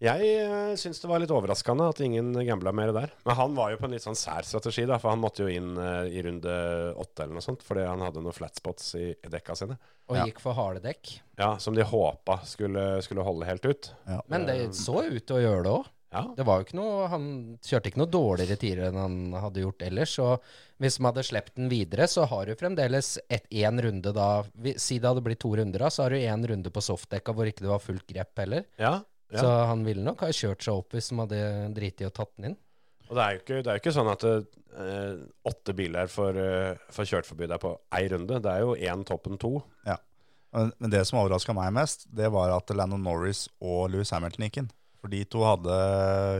jeg uh, syns det var litt overraskende at ingen gambla mer der. Men han var jo på en litt sånn sær strategi, da, for han måtte jo inn eh, i runde åtte eller noe sånt, fordi han hadde noen flatspots i i dekka sine.
Og
Ja.
gikk for harde dekk.
Ja, som de håpa skulle, skulle holde helt ut.
Men det så ut til å gjøre det òg.
Ja,
Det var jo ikke noe, Han kjørte ikke noe dårligere tider enn han hadde gjort ellers. Og hvis man hadde sluppet den videre, så har du fremdeles én runde da vi- Si det hadde blitt to runder, da, så har du én runde på softdekka hvor ikke det var fullt grep heller.
ja, ja.
Så han ville nok ha kjørt seg opp hvis han hadde driti i og tatt den inn.
Og det er jo ikke, det er jo ikke sånn at eh, åtte biler får, eh, får kjørt forbi deg på ei runde. Det er jo én toppen to.
Men, men det som overraska meg mest, det var at Landon Norris og Louis Hamilton gikk inn. For de to hadde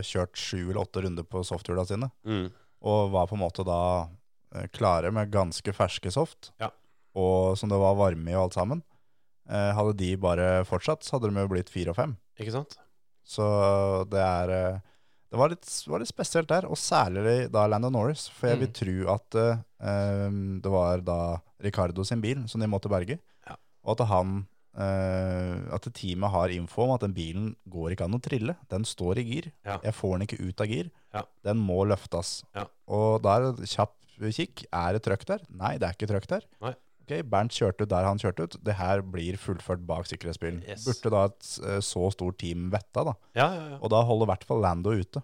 kjørt sju eller åtte runder på softhjula sine,
Mm.
og var på en måte da eh, klare med ganske ferske soft,
Ja.
og som det var varme i og alt sammen. Eh, Hadde de bare fortsatt, så hadde de jo blitt fire og fem.
Ikke sant?
Så det er eh, Det var litt, var litt spesielt der, og særlig da Lando Norris. For jeg
Mm.
vil tro at eh, um, det var da Ricardo sin bil som de måtte berge.
Ja.
Og at han eh, At teamet har info om at den bilen går ikke an å trille. Den står i gir.
Ja.
Jeg får den ikke ut av gir.
Ja.
Den må løftes.
Ja.
Og da er det kjapp kikk. Er det trøkk der? Nei, det er ikke trøkk der.
Nei.
Ok, Bernt kjørte ut der han kjørte ut. Det her blir fullført bak sikkerhetsbilen.
Yes.
Burde da et eh, så stort team vetta, da.
Ja, ja, ja.
Og da holder i hvert fall Lando ute.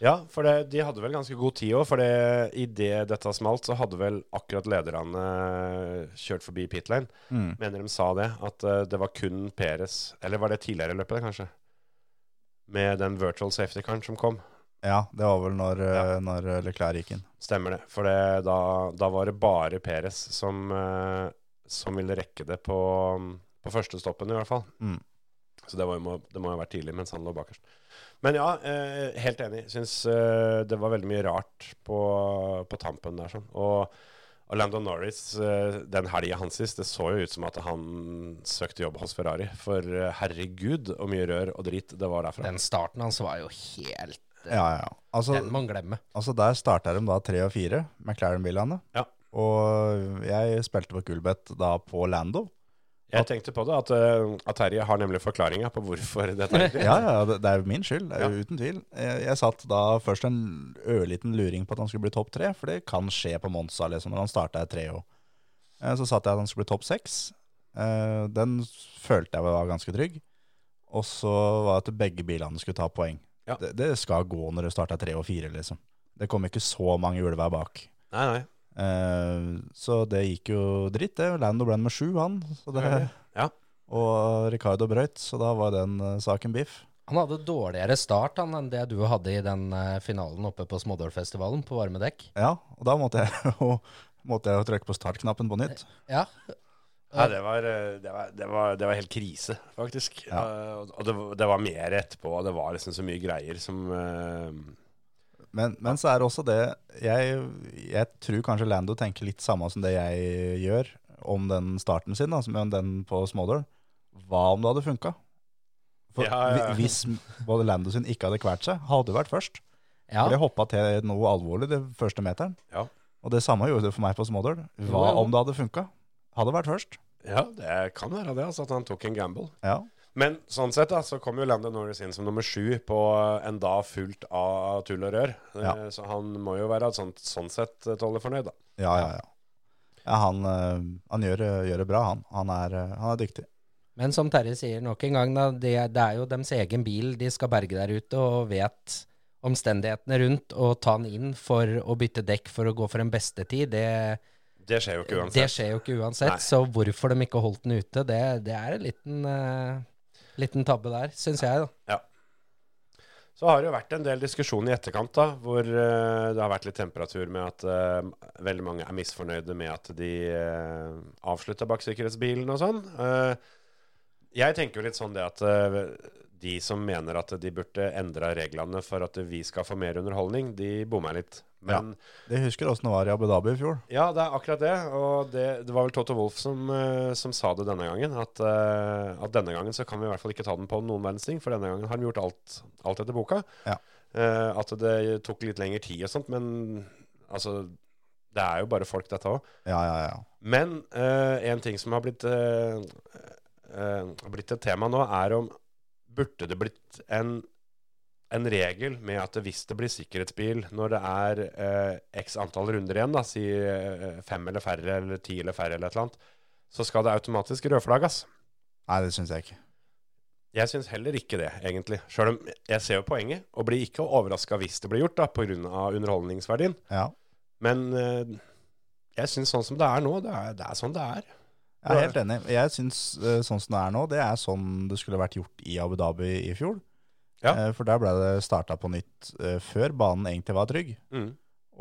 ja for det, de hadde vel ganske god tid òg, for det, i det dette smalt, så hadde vel akkurat lederne eh, kjørt forbi pit lane.
Mm.
Mener de sa det, at eh, det var kun Peres, eller var det tidligere i løpet, kanskje? Med den virtual safety-karen som kom.
Ja, det var vel når, eh, når Leclerc gikk inn.
Stemmer det. For det, da, da var det bare Peres som, eh, som ville rekke det på, på første stoppen, i hvert fall.
Mm.
Så det, var, jo må- det må jo ha vært tidlig mens han lå bakerst. Men ja, eh, helt enig. Syns eh, det var veldig mye rart på, på tampen der. Sånn. Og, og Landon Norris, eh, den helga hans sist, det så jo ut som at han søkte jobb hos Ferrari. For eh, herregud, og mye rør og drit det var derfra.
Den starten hans var jo helt eh,
Ja, ja. ja. Altså,
Den må han glemme.
altså der starta de da tre og fire, McLaren-bilene.
Ja.
Og jeg spilte på Gulbet da på Lando.
Jeg tenkte på det, at, eh, at Terje har nemlig forklaringa på hvorfor dette er
Ja, ja, det, det er jo min skyld, det er jo uten tvil. Jeg, jeg satt da først en ørliten luring på at han skulle bli topp tre, for det kan skje på Monza, liksom, når han starta i Treo. Eh, Så satt jeg at han skulle bli topp seks. Eh, Den følte jeg var ganske trygg. Og så var det at begge bilene skulle ta poeng.
Ja.
Det, det skal gå når du starter tre og fire, liksom. Det kom ikke så mange ulver bak.
Nei, nei.
Eh, Så det gikk jo dritt, det. Lando ble med sju, han. Så det,
Ja.
Og Ricardo brøyt, så da var den eh, saken biff.
Han hadde dårligere start han, enn det du hadde i den eh, finalen oppe på Smådålfestivalen på varme dekk.
Ja, og da måtte jeg jo, måtte jeg jo trykke på startknappen på nytt.
Ja,
Nei, det var, eh, det, var, det, var, det var helt krise, faktisk. Eh, og- og det, var- det var mer etterpå, og det var liksom så mye greier som eh,
Men, men så er det også det jeg, jeg tror kanskje Lando tenker litt samme som det jeg gjør om den starten sin, da, som er den på Smådøl. Hva om det hadde funka? For
Ja, ja, ja.
hvi- Hvis både Lando sin ikke hadde kvalt seg, hadde det vært først.
ja.
For det hoppa til noe alvorlig den første meteren.
Ja.
Og det samme gjorde det for meg på Smådøl.
Jo,
Hva
jo.
om det hadde funka? Hadde vært først.
Ja, det kan være det, altså, at han tok en gamble.
Ja.
Men sånn sett da, så kom jo Landon Norris inn som nummer sju på en dag fullt av tull og rør. Eh,
Ja.
Så han må jo være sånn, sånn sett eh, tålelig fornøyd, da.
Ja, ja, ja. ja han eh, han gjør, det- gjør det bra, han. Han er, eh, han er dyktig.
Men som Terje sier nok en gang, da, det, det er jo deres egen bil de skal berge der ute, og vet omstendighetene rundt, og ta den inn for å bytte dekk for å gå for en bestetid, det,
Det skjer jo ikke uansett.
det skjer jo ikke uansett.
Nei.
Så hvorfor de ikke holdt den ute, det, det er en liten, eh, liten tabbe der, syns jeg, da.
Så har det jo vært en del diskusjon i etterkant, da, hvor eh, det har vært litt temperatur med at eh, veldig mange er misfornøyde med at de uh, avslutta bak sikkerhetsbilen og sånn. Eh, jeg tenker jo litt sånn det at eh, de som mener at de burde endra reglene for at vi skal få mer underholdning, de bommer litt. Men
Jeg husker åssen det var i Abu Dhabi i fjor.
ja, det er akkurat det. Og det, det var vel Toto Wolff som, eh, som sa det denne gangen. At, eh, at denne gangen så kan vi i hvert fall ikke ta den på noen verdens ting, for denne gangen har de gjort alt, alt etter boka.
Ja.
Eh, at det tok litt lengre tid og sånt, men altså Det er jo bare folk, dette òg.
Ja, ja, ja.
Men eh, en ting som har blitt, eh, eh, blitt et tema nå, er om burde det blitt en, en regel med at hvis det blir sikkerhetsbil når det er eh, x antall runder igjen, da, si eh, fem eller færre eller ti eller færre eller et eller annet, så skal det automatisk rødflagges.
Nei, det syns jeg ikke.
Jeg syns heller ikke det, egentlig. Sjøl om jeg ser jo poenget, og blir ikke overraska hvis det blir gjort, da, pga. underholdningsverdien.
Ja.
Men eh, jeg syns sånn som det er nå, det er, det er sånn det er.
Jeg er helt enig. Jeg syns eh, sånn som det er nå, det er sånn det skulle vært gjort i Abu Dhabi i fjor.
Ja.
Eh, For der ble det starta på nytt eh, før banen egentlig var trygg.
Mm.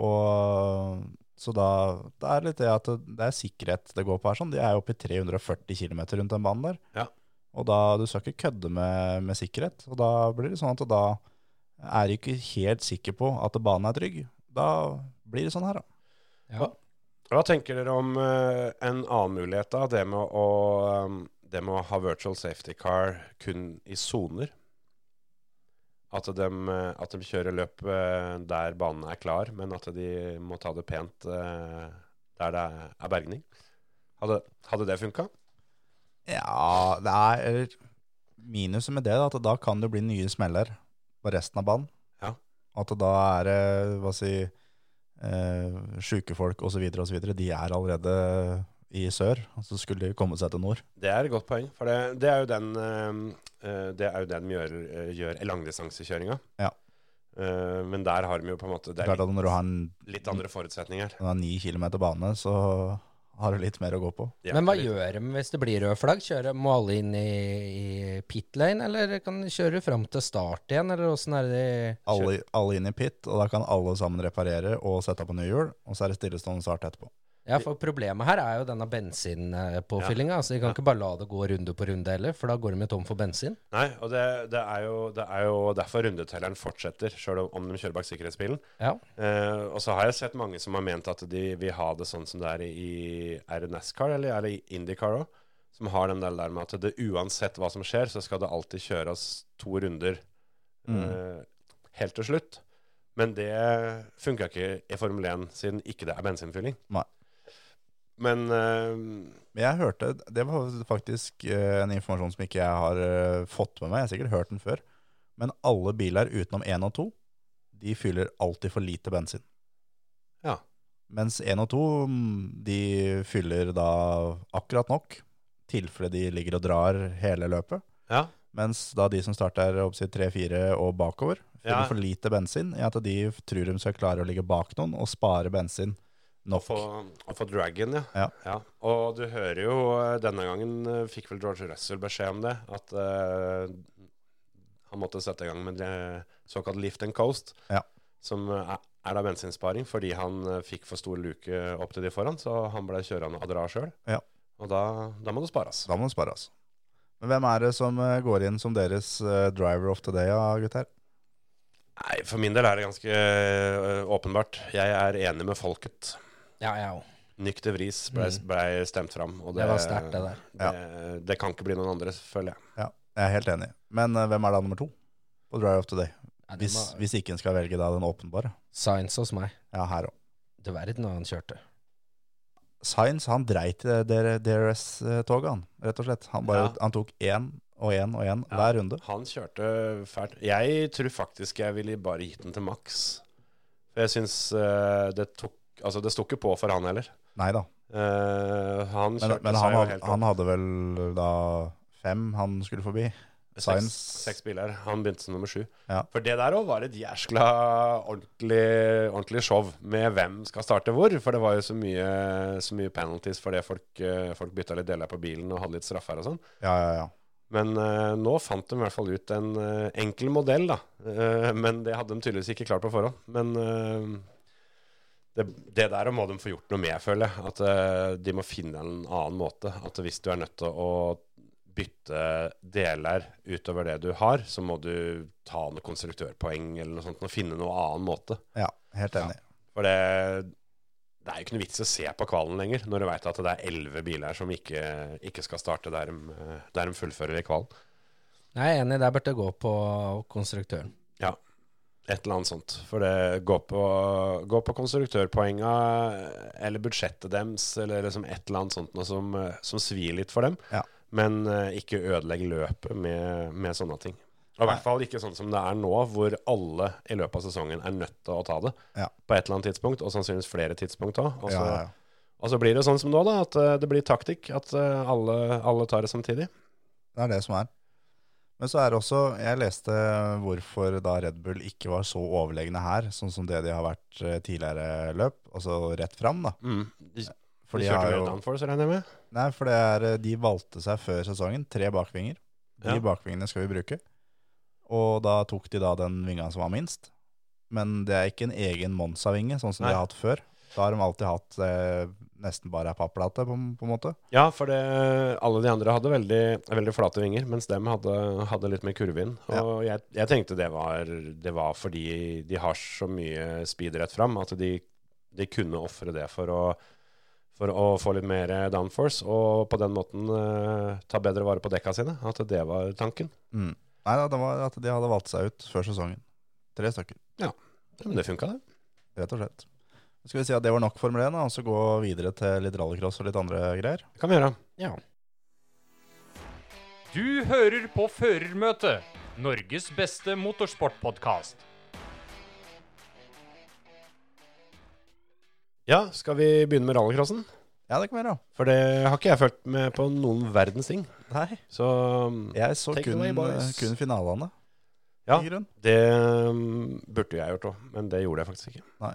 Og så da det er litt det at det det er sikkerhet det går på her. sånn. De er jo oppe i 340 km rundt den banen der.
Ja.
Og da, du skal ikke kødde med, med sikkerhet. Og da blir det sånn at da er du ikke helt sikker på at banen er trygg. Da blir det sånn her, da.
Ja.
Hva tenker dere om eh, en annen mulighet da, det med å, um, eh, det med å ha virtual safety car kun i zoner? At de, at de kjører løp eh, der banen er klar, men at de må ta det pent eh, der det er bergning. Hadde, hadde det funka?
Ja, det er eller, minuset med det, da, at da kan det bli nye smeller på resten av banen.
Ja.
At da er det, hva si, eh, sjuke folk osv., osv., de er allerede i sør, og så skulle de komme seg til nord.
Det er et godt poeng, for det, det er jo den eh, eh, Det er jo den de gjør, eh, gjør langdistansekjøringa.
Ja.
Eh, men der har de jo på en måte Det er
Klart at når du har, en,
litt, litt andre forutsetninger.
når du har ni kilometer bane, så har du litt mer å gå på.
De er
Men hva
litt-
gjør de hvis det blir rød flagg? Kjører, må alle inn i, i pit lane, eller kan de kjøre fram til start igjen, eller åssen er det de
Alle, alle inn i pit, og da kan alle sammen reparere og sette på nye hjul, og så er det stillestående start etterpå.
Ja, for problemet her er jo denne bensinpåfyllinga. altså, de kan ikke bare la det gå runde på runde heller, for da går de jo tom for bensin.
Nei, og det, det, er jo, det er jo derfor rundetelleren fortsetter, sjøl om de kjører bak sikkerhetsbilen.
Ja.
Eh, og så har jeg sett mange som har ment at de vil ha det sånn som det er i Er det NASCAR eller er det i IndyCar òg? Som har den der der med at det uansett hva som skjer, så skal det alltid kjøres to runder eh, helt til slutt. Men det funka ikke i Formel 1 siden ikke det er bensinfylling.
Nei.
Men eh,
Men jeg hørte, det var faktisk eh, en informasjon som ikke jeg har eh, fått med meg, jeg har sikkert hørt den før, men alle biler utenom 1 og 2, de fyller alltid for lite bensin.
Ja.
Mens 1 og 2, mm, de fyller da akkurat nok, tilfelle de ligger og drar hele løpet.
ja,
Mens da de som starter opp sitt 3-4 og bakover, fyller
Ja.
for lite bensin, i at de tror de skal klare å ligge bak noen og spare bensin nok.
Få, å få dragon, ja.
Ja.
Og du hører jo eh, Denne gangen eh, fikk vel George Russell beskjed om det. At eh, han måtte sette i gang med det såkalt lift and coast.
Ja.
Som eh, er er da bensinsparing, fordi han eh, fikk for stor luke opp til de foran. Så han ble kjørende og dra sjøl.
Ja.
Og da, da må det spares.
Da må det spares. Men hvem er det som eh, går inn som deres eh, driver of the day, ja, gutter?
Nei, For min del er det ganske eh, åpenbart. Jeg er enig med folket.
Ja, ja, jo.
Nykter vris ble,
Mm.
ble stemt fram. Og
Det var sterkt, det der.
Det, det kan ikke bli noen andre, føler jeg.
Ja, jeg er helt enig. Men eh, hvem er da nummer to på driver of the day?
Ja, det
Hvis,
var-
hvis ikke en skal velge da den åpenbare.
Science hos meg.
Ja, her òg.
Du verden hva han kjørte.
Science han dreit eh, i det DRS-toget, eh, han, rett og slett. Han, bare,
Ja.
han tok én og én og én
Ja.
hver runde.
Han kjørte fælt. Jeg tror faktisk jeg ville bare gitt den til Max. For jeg syns eh, det tok Altså, det sto ikke på for han heller.
Nei da.
Eh, han
Men,
kjørte
men
seg
han,
jo
hadde,
helt
han
opp.
hadde vel da fem han skulle forbi.
seks,
Sainz-
seks biler. Han begynte som nummer sju.
Ja.
For det der òg var et jæskla ordentlig, ordentlig show med hvem skal starte hvor. For det var jo så mye, så mye penalties fordi folk, eh, folk bytta litt deler på bilen og hadde litt straffer og sånn.
Ja, ja, ja.
Men eh, nå fant de i hvert fall ut en eh, enkel modell, da. Eh, men det hadde de tydeligvis ikke klart på forhånd. Men eh, det, det der må de få gjort noe med, føler jeg. At eh, de må finne en annen måte. At hvis du er nødt til å bytte deler utover det du har, så må du ta noen konstruktørpoeng eller noe sånt og finne noen annen måte.
ja helt enig.
For det, det er jo ikke noe vits å se på kvalen lenger, når du veit at det er elleve biler som ikke, ikke skal starte der de, eh, der de fullfører i kvalen.
Jeg er enig, der burde det gå på konstruktøren.
Et eller annet sånt. For det går på, går på konstruktørpoenga eller budsjettet deres eller liksom et eller annet sånt noe som, eh, som svir litt for dem.
Ja.
Men eh, ikke ødelegg løpet med, med sånne ting. Og i
Nei.
hvert fall ikke sånn som det er nå, hvor alle i løpet av sesongen er nødt til å ta det.
Ja.
På et eller annet tidspunkt, og sannsynligvis flere tidspunkt òg. Og, så-
Ja, ja, ja.
og så blir det sånn som nå, da, at eh, det blir taktikk. At eh, alle, alle tar det samtidig.
Det er det som er. Men så er det også Jeg leste hvorfor da Red Bull ikke var så overlegne her, sånn som det de har vært eh, tidligere løp, altså rett fram, da.
Mm. De,
For
de
de,
kjørte
har
jo
jo,
downforce, regner jeg med?
nei, for det er, eh, de valgte seg før sesongen tre bakvinger. De
Ja.
bakvingene skal vi bruke. Og da tok de da den vinga som var minst. Men det er ikke en egen Monza-vinge, sånn som
Nei.
de har hatt før. Da har de alltid hatt eh, nesten bare ei papplate, på, på en måte.
Ja, for det, alle de andre hadde veldig, veldig flate vinger, mens dem hadde, hadde litt mer kurve inn. Og jeg, jeg tenkte det var, det var fordi de har så mye speed rett fram, at de, de kunne ofre det for å, for å få litt mer downforce, og på den måten eh, ta bedre vare på dekka sine. At det var tanken.
Mm. Nei da, det var at de hadde valgt seg ut før sesongen. Tre stykker,
Men det funka, det.
rett og slett. Så skal vi si at det var nok Formel 1, da, og så gå videre til litt rallycross og litt andre greier.
Det kan vi gjøre.
Ja.
Du hører på Førermøtet, Norges beste motorsportpodkast.
Ja, skal vi begynne med rallycrossen?
Ja, det kan vi gjøre.
For det har ikke jeg fulgt med på noen verdens ting.
Nei,
Så
jeg så
Take it
kun, eh,
away, boys.
kun finalene.
Ja.
i grunn.
det um, burde jo jeg gjort òg, men det gjorde jeg faktisk ikke.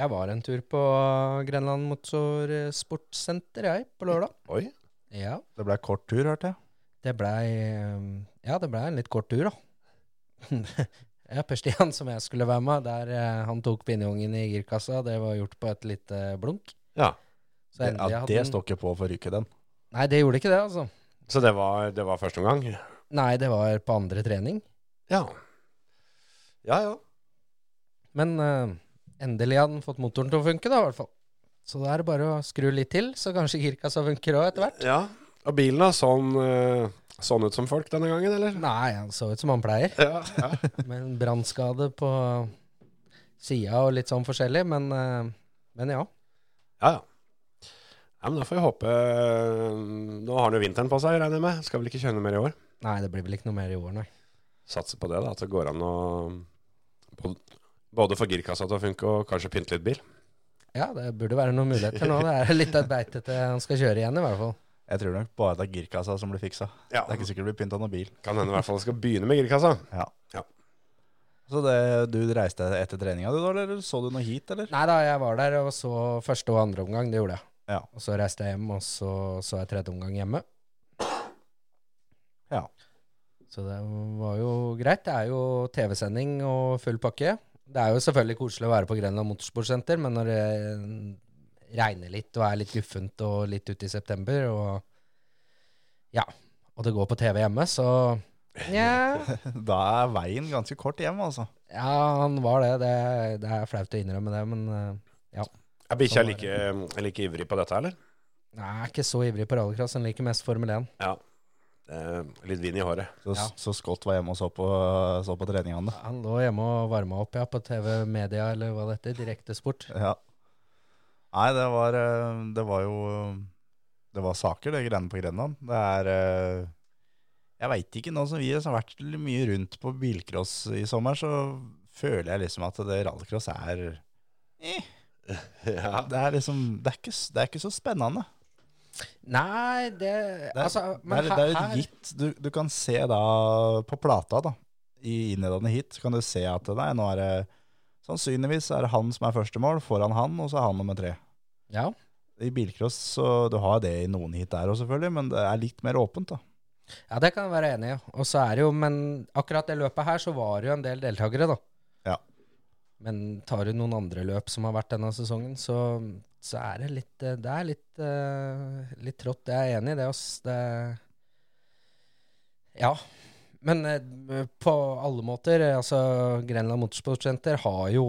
Jeg var en tur på Grenland Motorsportsenter, jeg, på lørdag.
Oi.
Ja.
Det ble kort tur, hørte jeg.
Det blei eh, Ja, det blei en litt kort tur, da. ja, Per Stian, som jeg skulle være med, der eh, han tok pinneungen i girkassa, det var gjort på et lite blunk.
Ja.
Så
Det,
endelig
ja,
hadde
det
den-
står ikke på for ryket, den.
Nei, det gjorde ikke det, altså.
Så det var, det var første omgang?
Nei, det var på andre trening.
Ja. Ja ja.
Men eh, endelig hadde han fått motoren til å funke, da, i hvert fall. Så da er det bare å skru litt til, så kanskje girkassa funker òg etter hvert.
ja. Og bilen da, sånn, eh, sånn ut som folk denne gangen, eller?
Nei, han så ut som han pleier.
Ja, ja.
Med en brannskade på sida og litt sånn forskjellig, men, eh, men ja.
Ja, ja. Ja, men Da får vi håpe eh, Nå har han jo vinteren på seg, regner jeg med. Skal vel ikke kjøre noe mer i år.
Nei, det blir vel ikke noe mer i år, nei.
Satse på det, da. At det går an å både få girkassa til å funke, og kanskje pynte litt bil.
Ja, det burde være noen muligheter nå. Det er litt av et beite til han skal kjøre igjen, i hvert fall.
Jeg tror nok bare det er girkassa som blir fiksa.
Ja,
Det er ikke sikkert det blir pynta noen bil.
Kan hende i hvert fall skal begynne med girkassa.
Så det, du reiste etter treninga du, da, eller så du noe hit, eller?
Nei da, jeg var der og så første og andre omgang. Det gjorde jeg.
Ja.
Og så reiste jeg hjem, og så så jeg tredje omgang hjemme.
Ja.
Så det var jo greit. Det er jo TV-sending og full pakke. Det er jo selvfølgelig koselig å være på Grenland Motorsportsenter, men når det regner litt og er litt guffent og litt ute i september, og ja, og det går på TV hjemme, så nja.
Da er veien ganske kort hjem, altså.
Ja, han var det. Det, det er flaut å innrømme det, men eh,
Sånn Er bikkja like, like ivrig på dette, eller?
nei, jeg er ikke så ivrig på rallycross. Han liker mest Formel 1.
Eh, litt vind i håret.
Så,
Ja.
så Scott var hjemme og så på, så på treningene.
Han lå hjemme og varma opp ja, på TV Media, eller hva det heter. Direktesport.
Ja. Nei, det var, eh, det var jo Det var saker, det greiene på Grenland. Det er eh, Jeg veit ikke, nå som vi har vært mye rundt på bilcross i sommer, så føler jeg liksom at det rallycross er eh,
Ja.
Det er liksom det er, ikke, s- det er ikke så spennende.
Nei, det,
Det er,
Altså,
det
men
er, det er
her-
et gitt du, du kan se da på plata, da, i innledende hit, kan du se at nei, nå er det Sannsynligvis er det han som er første mål, foran han, og så er han nummer tre.
Ja.
I bilcross så du har det i noen hit der òg, selvfølgelig, men det er litt mer åpent. da.
ja, det kan jeg være enig i. Og så er det jo Men akkurat det løpet her, så var det jo en del deltakere, da.
Ja.
Men tar du noen andre løp som har vært denne sesongen, så, så er det litt eh, Det er litt, eh, litt trått. Det er jeg enig i, det, ass. Det Ja. Men eh, på alle måter, eh, altså Grenland Motorsportsenter har jo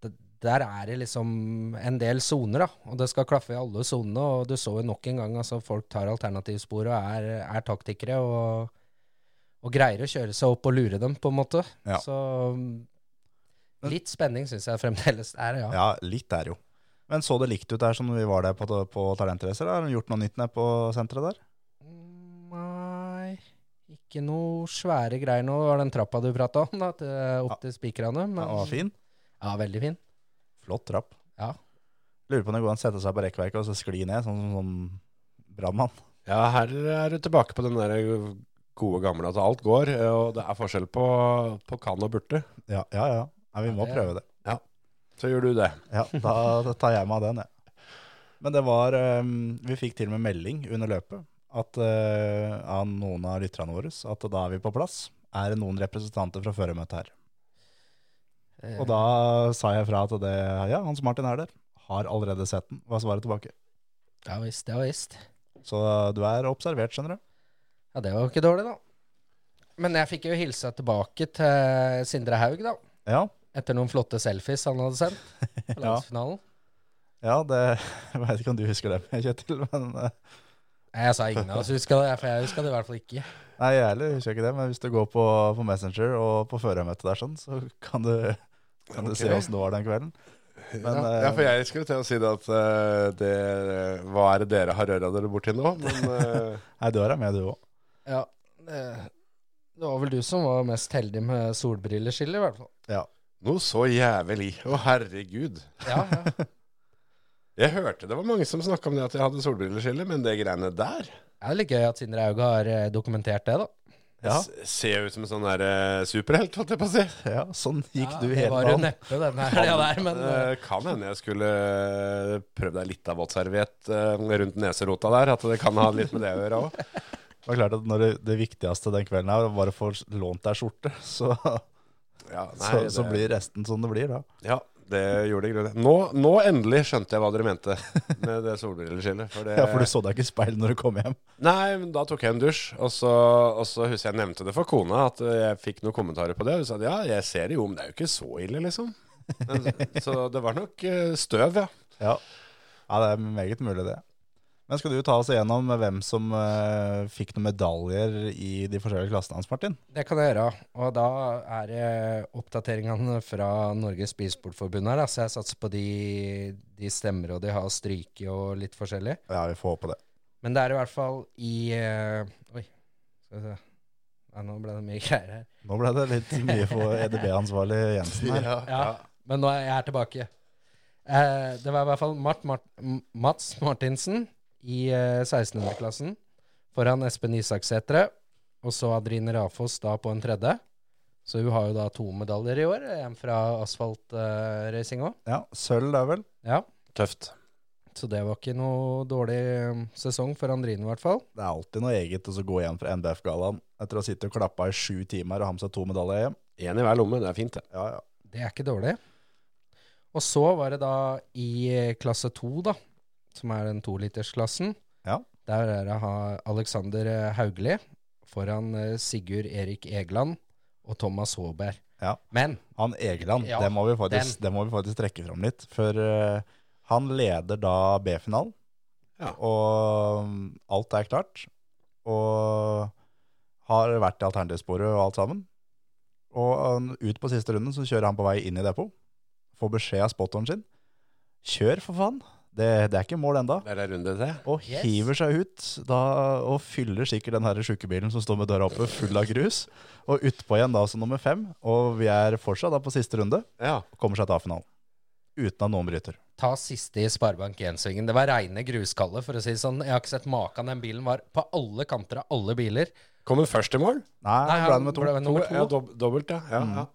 d- Der er det liksom en del soner, da. Og det skal klaffe i alle sonene. Og du så jo nok en gang altså folk tar alternativspor og er, er taktikere og, og greier å kjøre seg opp og lure dem, på en måte.
Ja.
Så mm, litt spenning syns jeg fremdeles er, ja.
Ja, litt er jo. Men så det likt ut der som vi var der på, på talentracer? Har de gjort noe nytt nede på senteret der?
Mm, Nei Ikke noe svære greier nå. Det var den trappa du prata om, da, til, opp til spikrene.
Den
men-
var fin.
Ja, veldig fin.
Flott trapp.
Ja.
Lurer på om det går an å sette seg på rekkverket og så skli ned, sånn som sånn, brannmann.
ja, her er du tilbake på den der gode gamle at alt går, og det er forskjell på, på kan og burde.
Ja, ja, ja. Nei, vi
Ja,
må
det-
prøve det.
Så gjør du det.
Ja, da tar jeg meg av den, jeg. Men det var ehm, Vi fikk til og med melding under løpet at, eh, av noen av lytterne våre at da er vi på plass. Er det noen representanter fra førermøtet her?
Eh,
Og da sa jeg fra at det, ja, Hans Martin er der. Har allerede sett den. Hva svaret tilbake?
Ja visst, ja visst.
Så du er observert, skjønner du.
Ja, det var jo ikke dårlig, da. Men jeg fikk jo hilsa tilbake til Sindre Haug, da.
Ja,
Etter noen flotte selfies han hadde sendt på
Ja.
landsfinalen.
ja det jeg vet ikke om du husker det, Kjetil, men eh,
Nei, Jeg sa ingen av oss huska det, for jeg huska det i hvert fall ikke.
Nei, jeg heller husker ikke det, men hvis du går på, på Messenger og på førermøtet der, sånn, så kan du, kan du se
Ok.
åssen det var den kvelden. Men
Ja,
eh,
for jeg skulle til å si det at eh, det, Hva er det dere har røra dere borti nå? Men eh,
nei, du er med, du òg.
Ja, det, det var vel du som var mest heldig med solbrilleskille, i hvert fall.
Ja.
noe så jævlig. Å, herregud.
Ja, ja.
Jeg hørte det var mange som snakka om det at jeg hadde solbrilleskille, men det greiene der
Det er litt gøy at Sindre Hauge har eh, dokumentert det, da.
Ja,
s- ser jo ut som en sånn der, eh, superhelt, holdt jeg på å si.
ja, sånn gikk
Ja,
du
det
hele
var jo
dagen.
neppe denne helga der, men eh,
Eh, kan hende jeg skulle eh, prøvd deg litt av våtserviett eh, rundt neserota der. At det kan ha litt med det å gjøre òg.
Det var klart at når det, det viktigste den kvelden her var å få lånt deg skjorte, så,
Ja, nei,
så, så
det-
blir resten som det blir, da.
Ja, det gjorde det i grunnen. Nå, nå endelig skjønte jeg hva dere mente med det solbrilleskillet. For det,
Ja, For du så deg ikke i speilet når du kom hjem.
Nei, men da tok jeg en dusj, og så, og så husker jeg jeg nevnte det for kona, at eh, jeg fikk noen kommentarer på det. Hun sa at ja, jeg ser det jo, men det er jo ikke så ille, liksom. Men, så det var nok eh, støv, ja.
Ja. ja, det er meget mulig, det. Men skal du ta oss igjennom hvem som eh, fikk noen medaljer i de forskjellige klassene hans, Martin?
det kan jeg gjøre. Og da er det oppdateringene fra Norges Bilsportforbund her, da. Så jeg satser på de, de stemmer, og de har stryke og litt forskjellig.
Ja, vi får håpe det.
Men det er i hvert fall i eh, Oi, skal vi se. Nei, nå ble det mye greier her.
Nå ble det litt mye for EDB-ansvarlig Jensen her.
Ja, Men nå er jeg er tilbake. Eh, det var i hvert fall Mart, Mart, M- Mats Martinsen i eh, 1600-klassen foran Espen Isaksætre. Og så Adrine Rafoss da på en tredje. Så hun har jo da to medaljer i år. En fra asfaltracing òg.
Ja, Sølv, det er vel?
Ja.
Tøft.
Så det var ikke noe dårlig eh, sesong for Andrine, i hvert fall.
Det er alltid noe eget å så gå hjem fra NBF-gallaen etter å ha sittet og klappa i sju timer og ha med seg to medaljer hjem.
Én i hver lomme, det er fint, det.
Ja, ja.
Det er ikke dårlig. Og så var det da i eh, klasse to, da, som er den tolitersklassen.
Ja.
Der er det ha- Alexander eh, Hauglie foran eh, Sigurd Erik Egeland og Thomas Håberg.
Ja.
Men
Han Egeland,
Ja,
det, må vi faktisk, det må vi faktisk trekke fram litt. For eh, han leder da B-finalen,
Ja.
og mm, alt er klart. Og har vært i alternativsporet og alt sammen. Og eh, ut på siste runden så kjører han på vei inn i depot. Får beskjed av spotteren sin. Kjør, for faen! Det, det er ikke mål enda.
Det er det runde til.
Og
Yes.
hiver seg ut da, og fyller sikkert den her sjukebilen som står med døra oppe, full av grus. Og utpå igjen da som nummer fem. Og vi er fortsatt da på siste runde.
Ja.
Og kommer seg til A-finalen. Uten at noen bryter.
ta siste i Sparebank 1-svingen. Det var reine gruskallet, for å si det sånn. Jeg har ikke sett maken. Den bilen var på alle kanter av alle biler.
Kommer først i mål.
Nei,
Nei,
ble
han
det med to.
ble nummer
Ja,
to.
dob dobbelt, ja.
Mm.
ja, ja.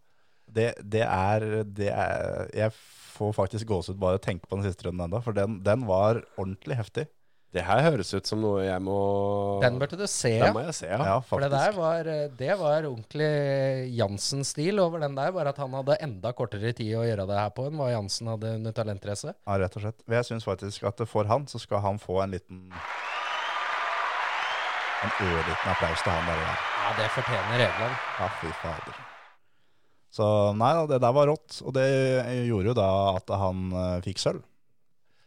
Det, det, er, det er Jeg får faktisk gåsehud bare av å tenke på den siste runden ennå, for den, den var ordentlig heftig.
Det her høres ut som noe jeg må
Den burde du se.
Den må jeg se, ja.
Ja,
For det
faktisk.
der var, eh, det var ordentlig Jansen-stil over den der, bare at han hadde enda kortere tid å gjøre det her på enn hva Jansen hadde under talentrace.
Ja, rett og slett. Men jeg syns faktisk at for han, så skal han få en liten En ørliten applaus til han der. der.
Ja, det fortjener Egeland.
Ja, fy fader. Så nei da, det der var rått. Og det gjorde jo da at han eh, fikk sølv.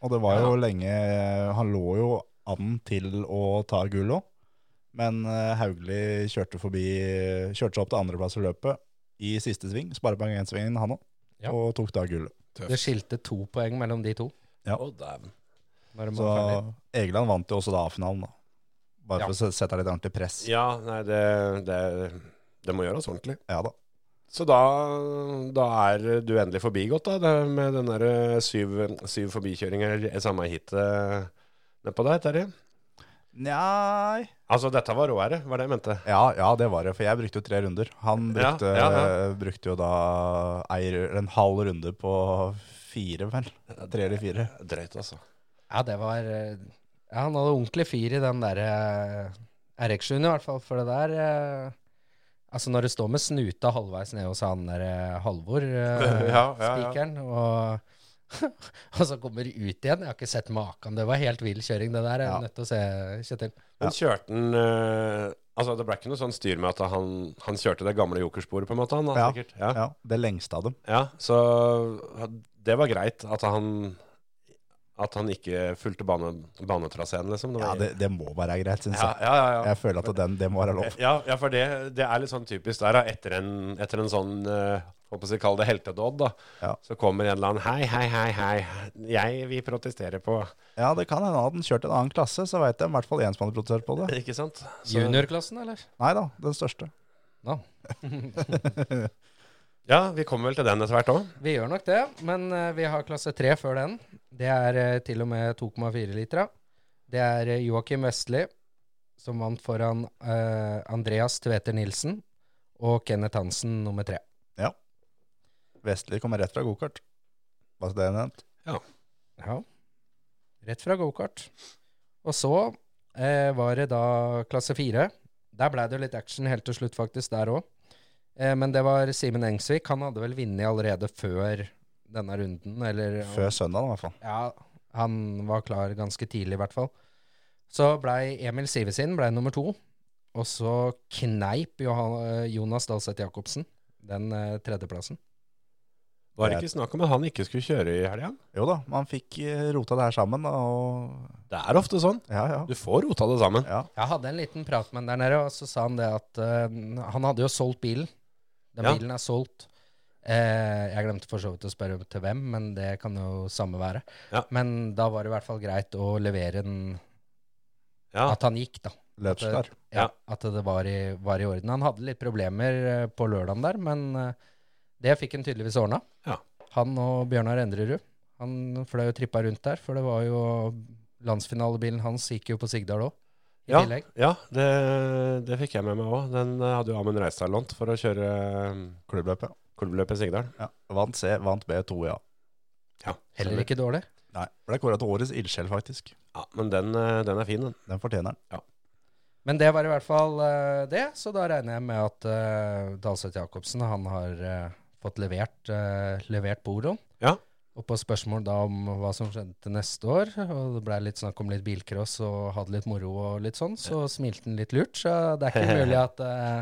Og det var jo lenge Han lå jo an til å ta gull òg, men eh, Hauglie kjørte forbi Kjørte seg opp til andreplass i løpet i siste sving, Sparebank 1-svingen, han òg,
Ja.
og tok da gullet.
Det skilte to poeng mellom de to.
Ja.
Å, dæven.
Når de
Så
var ferdig.
Egeland vant jo også da A-finalen, da. Bare
Ja.
for å se- sette litt ordentlig press. Ja,
Ja, nei, det, det, det må gjøres ordentlig.
da.
Så da, da er du endelig forbigått da, det med den der eh, syv, syv forbikjøringer i samme hitet nedpå der, Terje.
Nei
Altså, dette var råere, var det jeg mente.
Ja, ja, det var det, for jeg brukte jo tre runder. Han
Ja,
brukte,
ja, ja.
brukte jo da ei, ru- en halv runde på fire, vel. Tre eller fire.
Drøyt, altså.
Ja, det var eh, Ja, han hadde ordentlig fyr i den der eh, RX7 i hvert fall, for det der eh, Altså, når du står med snuta halvveis ned hos han der eh, Halvor, eh,
Ja, ja, ja.
spikeren, og, og så kommer du ut igjen Jeg har ikke sett maken. Det var helt vill kjøring, det der. Jeg er
Ja.
nødt til å se, Kjetil.
Men kjørte han eh, Altså, det ble ikke noe sånn styr med at han, han kjørte det gamle jokersporet, på en måte? Han, da,
Ja.
sikkert. Ja.
Ja, Det lengste av dem.
Ja, så det var greit at han At han ikke fulgte bane, banetraseen, liksom. Det
Ja,
var-
det, det må være greit, syns
ja,
jeg.
ja, ja, ja.
Jeg føler at den, det må være lov.
Ja, ja, for det, det er litt sånn typisk der, da. Etter en, etter en sånn eh, Håper jeg å kalle det heltedåd, da.
Ja.
Så kommer en eller annen Hei, hei, hei, hei. Jeg vil protestere på
Ja, det kan hende hadde den kjørt en annen klasse, så veit jeg i hvert fall én som hadde protestert på det.
Ikke sant? Så-
Juniorklassen, eller?
Nei da, den største.
No.
Ja, vi kommer vel til den etter hvert òg.
Vi gjør nok det, men eh, vi har klasse 3 før den. Det er eh, til og med 2,4 litra. Det er eh, Joakim Vestli, som vant foran eh, Andreas Tveter Nilsen og Kenneth Hansen nummer tre.
Vestli kommer rett fra gokart. Hva er det nevnt?
Ja. Rett fra gokart. Og så eh, var det da klasse 4. Der ble det jo litt action helt til slutt, faktisk, der òg. Eh, men det var Simen Engsvik. Han hadde vel vunnet allerede før denne runden, eller
Før søndagen, i hvert fall.
Ja, han var klar ganske tidlig i hvert fall. Så blei Emil Sivesin blei nummer to, og så kneip Johan, Jonas Dahlseth Jacobsen den eh, tredjeplassen.
Var det ikke snakk om at han ikke skulle kjøre i helga?
Jo da, man fikk eh, rota det her sammen, da, og
Det er ofte sånn.
Ja, ja.
Du får rota det sammen.
ja.
Jeg hadde en liten prat med han der nede, og så sa han det at eh, han hadde jo solgt bilen. Den
Ja.
bilen er solgt. Eh, jeg glemte for så vidt å spørre til hvem, men det kan jo samme være.
Ja.
Men da var det i hvert fall greit å levere den
Ja.
At han gikk, da.
Løpsklar.
ja,
Ja.
at det var i, var i orden. Han hadde litt problemer eh, på lørdagen der, men eh, det fikk han tydeligvis ordna.
Ja.
Han og Bjørnar Endrerud. Han fløy og trippa rundt der, for det var jo landsfinalebilen hans gikk jo på Sigdal òg, i
Ja,
tillegg.
ja det, det fikk jeg med meg òg. Den eh, hadde jo Amund Reistad lånt for å kjøre eh,
Klubbløpet.
Kolbeløpet i Sigdal.
Ja. Vant C, vant B2, ja.
Ja.
Heller ikke dårlig.
Nei, ble kåra til årets ildsjel, faktisk.
Ja, men den, eh, den er fin, den.
Den fortjener den.
Men det var i hvert fall eh, det, så da regner jeg med at uh, Dahlseth Jacobsen han har eh, fått levert, eh, levert Boron.
Ja.
Og på spørsmål da om hva som skjedde til neste år, og det blei litt snakk om litt bilcross og hadde litt moro og litt sånn, så smilte han litt lurt. Så det er ikke mulig at eh,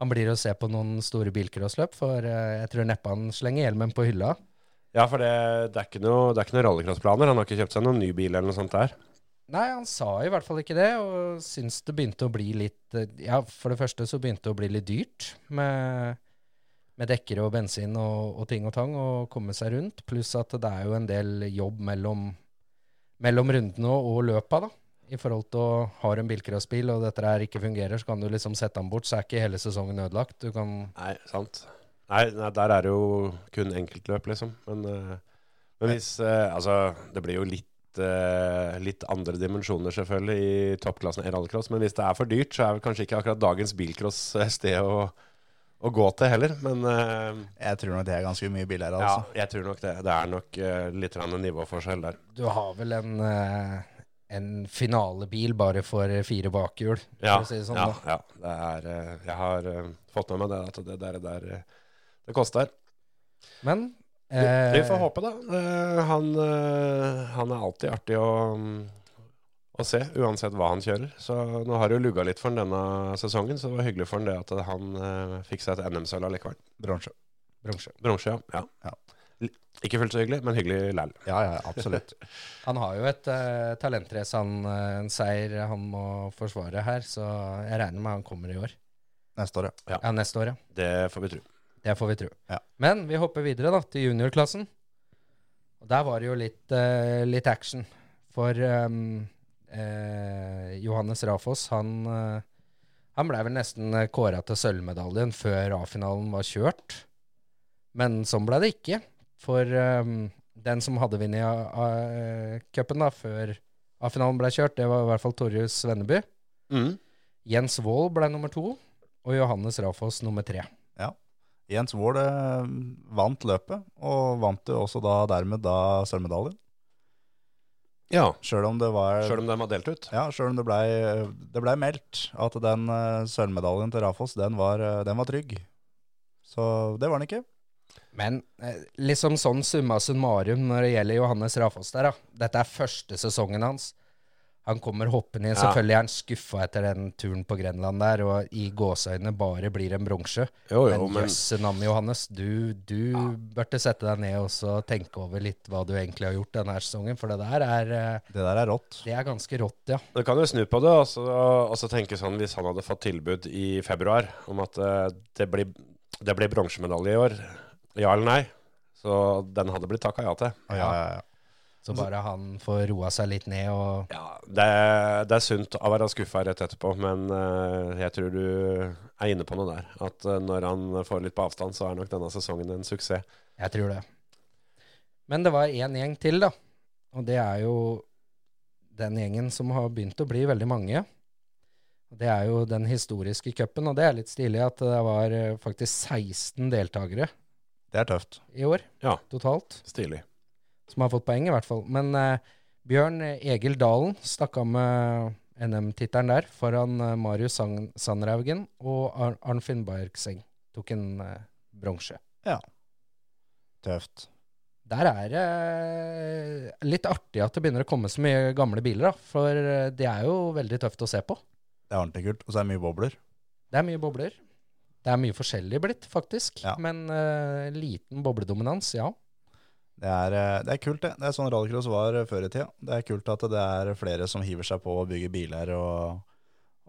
han blir å se på noen store bilcrossløp, for eh, jeg tror neppe han slenger hjelmen på hylla.
Ja, for det, det er ikke noe, det er ikke noe rallycrossplaner. Han har ikke kjøpt seg noen ny bil eller noe sånt der.
Nei, han sa i hvert fall ikke det, og syns det begynte å bli litt eh, Ja, for det første så begynte det å bli litt dyrt med, med dekker og bensin og, og ting og tang å komme seg rundt, pluss at det er jo en del jobb mellom, mellom rundene og, og løpa, da. I forhold til å har du en bilcrossbil og dette her ikke fungerer, så kan du liksom sette den bort, så er ikke hele sesongen ødelagt. Du kan
Nei, sant. Nei, nei der er det jo kun enkeltløp, liksom. Men, eh, men hvis eh, Altså, det blir jo litt eh, Litt andre dimensjoner selvfølgelig i toppklassen i rallycross, men hvis det er for dyrt, så er vel kanskje ikke akkurat dagens bilcross eh, sted å, å gå til heller. Men eh,
Jeg tror nok det er ganske mye billigere,
ja,
altså.
jeg tror nok det. Det er nok eh, litt grann en nivåforskjell der.
Du har vel en, eh, en finalebil bare for fire bakhjul,
Ja,
for å si det sånn.
ja,
da.
ja. Det er, eh, jeg har eh, fått med meg det at det der, der eh, det koster.
Men
Vi- Vi får
eh,
håpe, da. Eh, Han, eh, han er alltid artig å, mm, å se, uansett hva han kjører. Så nå har det jo lugga litt for han denne sesongen, så det var hyggelig for han det at han eh, fikk seg et NM-sølv allikevel.
Bronse.
Bronse.
Bronse, ja. ja.
Ja.
L- Ikke fullt så hyggelig, men hyggelig læl.
Ja, ja, absolutt.
Han har jo et uh, talentrace, han, eh, en seier han må forsvare her, så jeg regner med han kommer i år.
Neste år, ja.
Ja, neste år, ja.
Det får vi tro.
Det får vi tro.
Ja.
Men vi hopper videre da, til juniorklassen. Og der var det jo litt, eh, litt action. For ehm, eh, Johannes Rafoss, han, eh, han ble vel nesten eh, kåra til sølvmedaljen før A-finalen var kjørt. Men sånn ble det ikke. For ehm, den som hadde vunnet A- A- cupen da, før A-finalen ble kjørt, det var i hvert fall Torjus Svenneby.
Mm.
Jens Wold ble nummer to, og Johannes Rafoss nummer tre.
Jens Wold eh, vant løpet, og vant jo også da dermed da sølvmedaljen.
Ja.
Sjøl om det var
Sjøl om de har delt ut.
ja, selv om det blei det ble meldt at den eh, sølvmedaljen til Rafoss, den var, eh, den var trygg. Så det var den ikke.
Men eh, liksom sånn summa summarum når det gjelder Johannes Rafoss der, da. Dette er første sesongen hans. Han kommer hoppende inn.
Ja.
Selvfølgelig er han skuffa etter den turen på Grenland der, og i gåseøynene bare blir en bronse.
Jo, jo,
Men
men
jøsse navn, Johannes. Du, du burde sette deg ned og så tenke over litt hva du egentlig har gjort denne sesongen, for det der er, eh,
Det der er rått.
det er ganske rått, ja.
du kan jo snu på det og så, og så tenke sånn hvis han hadde fått tilbud i februar om at eh, det blir, det blir bronsemedalje i år, ja eller nei, så den hadde blitt takka ja til.
Ja, ja, ja.
Så bare han får roa seg litt ned og
Ja, det, det er sunt å være skuffa rett etterpå, men eh, jeg tror du er inne på noe der. At eh, når han får litt på avstand, så er nok denne sesongen en suksess.
Jeg tror det. Men det var én gjeng til, da. Og det er jo den gjengen som har begynt å bli veldig mange. Og Det er jo den historiske cupen, og det er litt stilig at det var eh, faktisk 16 deltakere
Det er tøft.
i år
Ja.
totalt,
Stilig.
som har fått poeng, i hvert fall. Men eh, Bjørn Egil Dalen stakk av med NM-tittelen der foran eh, Marius Sang- Sandhaugen og Ar Arnfinn Bergseng tok en eh, bronse.
Tøft.
Der er det eh, litt artig at det begynner å komme så mye gamle biler, da. For eh, det er jo veldig tøft å se på.
Det er ordentlig kult. Og så er det mye bobler.
Det er mye bobler. Det er mye forskjellig blitt, faktisk.
Ja.
Men eh, liten bobledominans, ja.
Det er, eh, det er kult, det. Det er sånn rallycross var eh, før i tida. Det er kult at det er flere som hiver seg på å bygge biler og,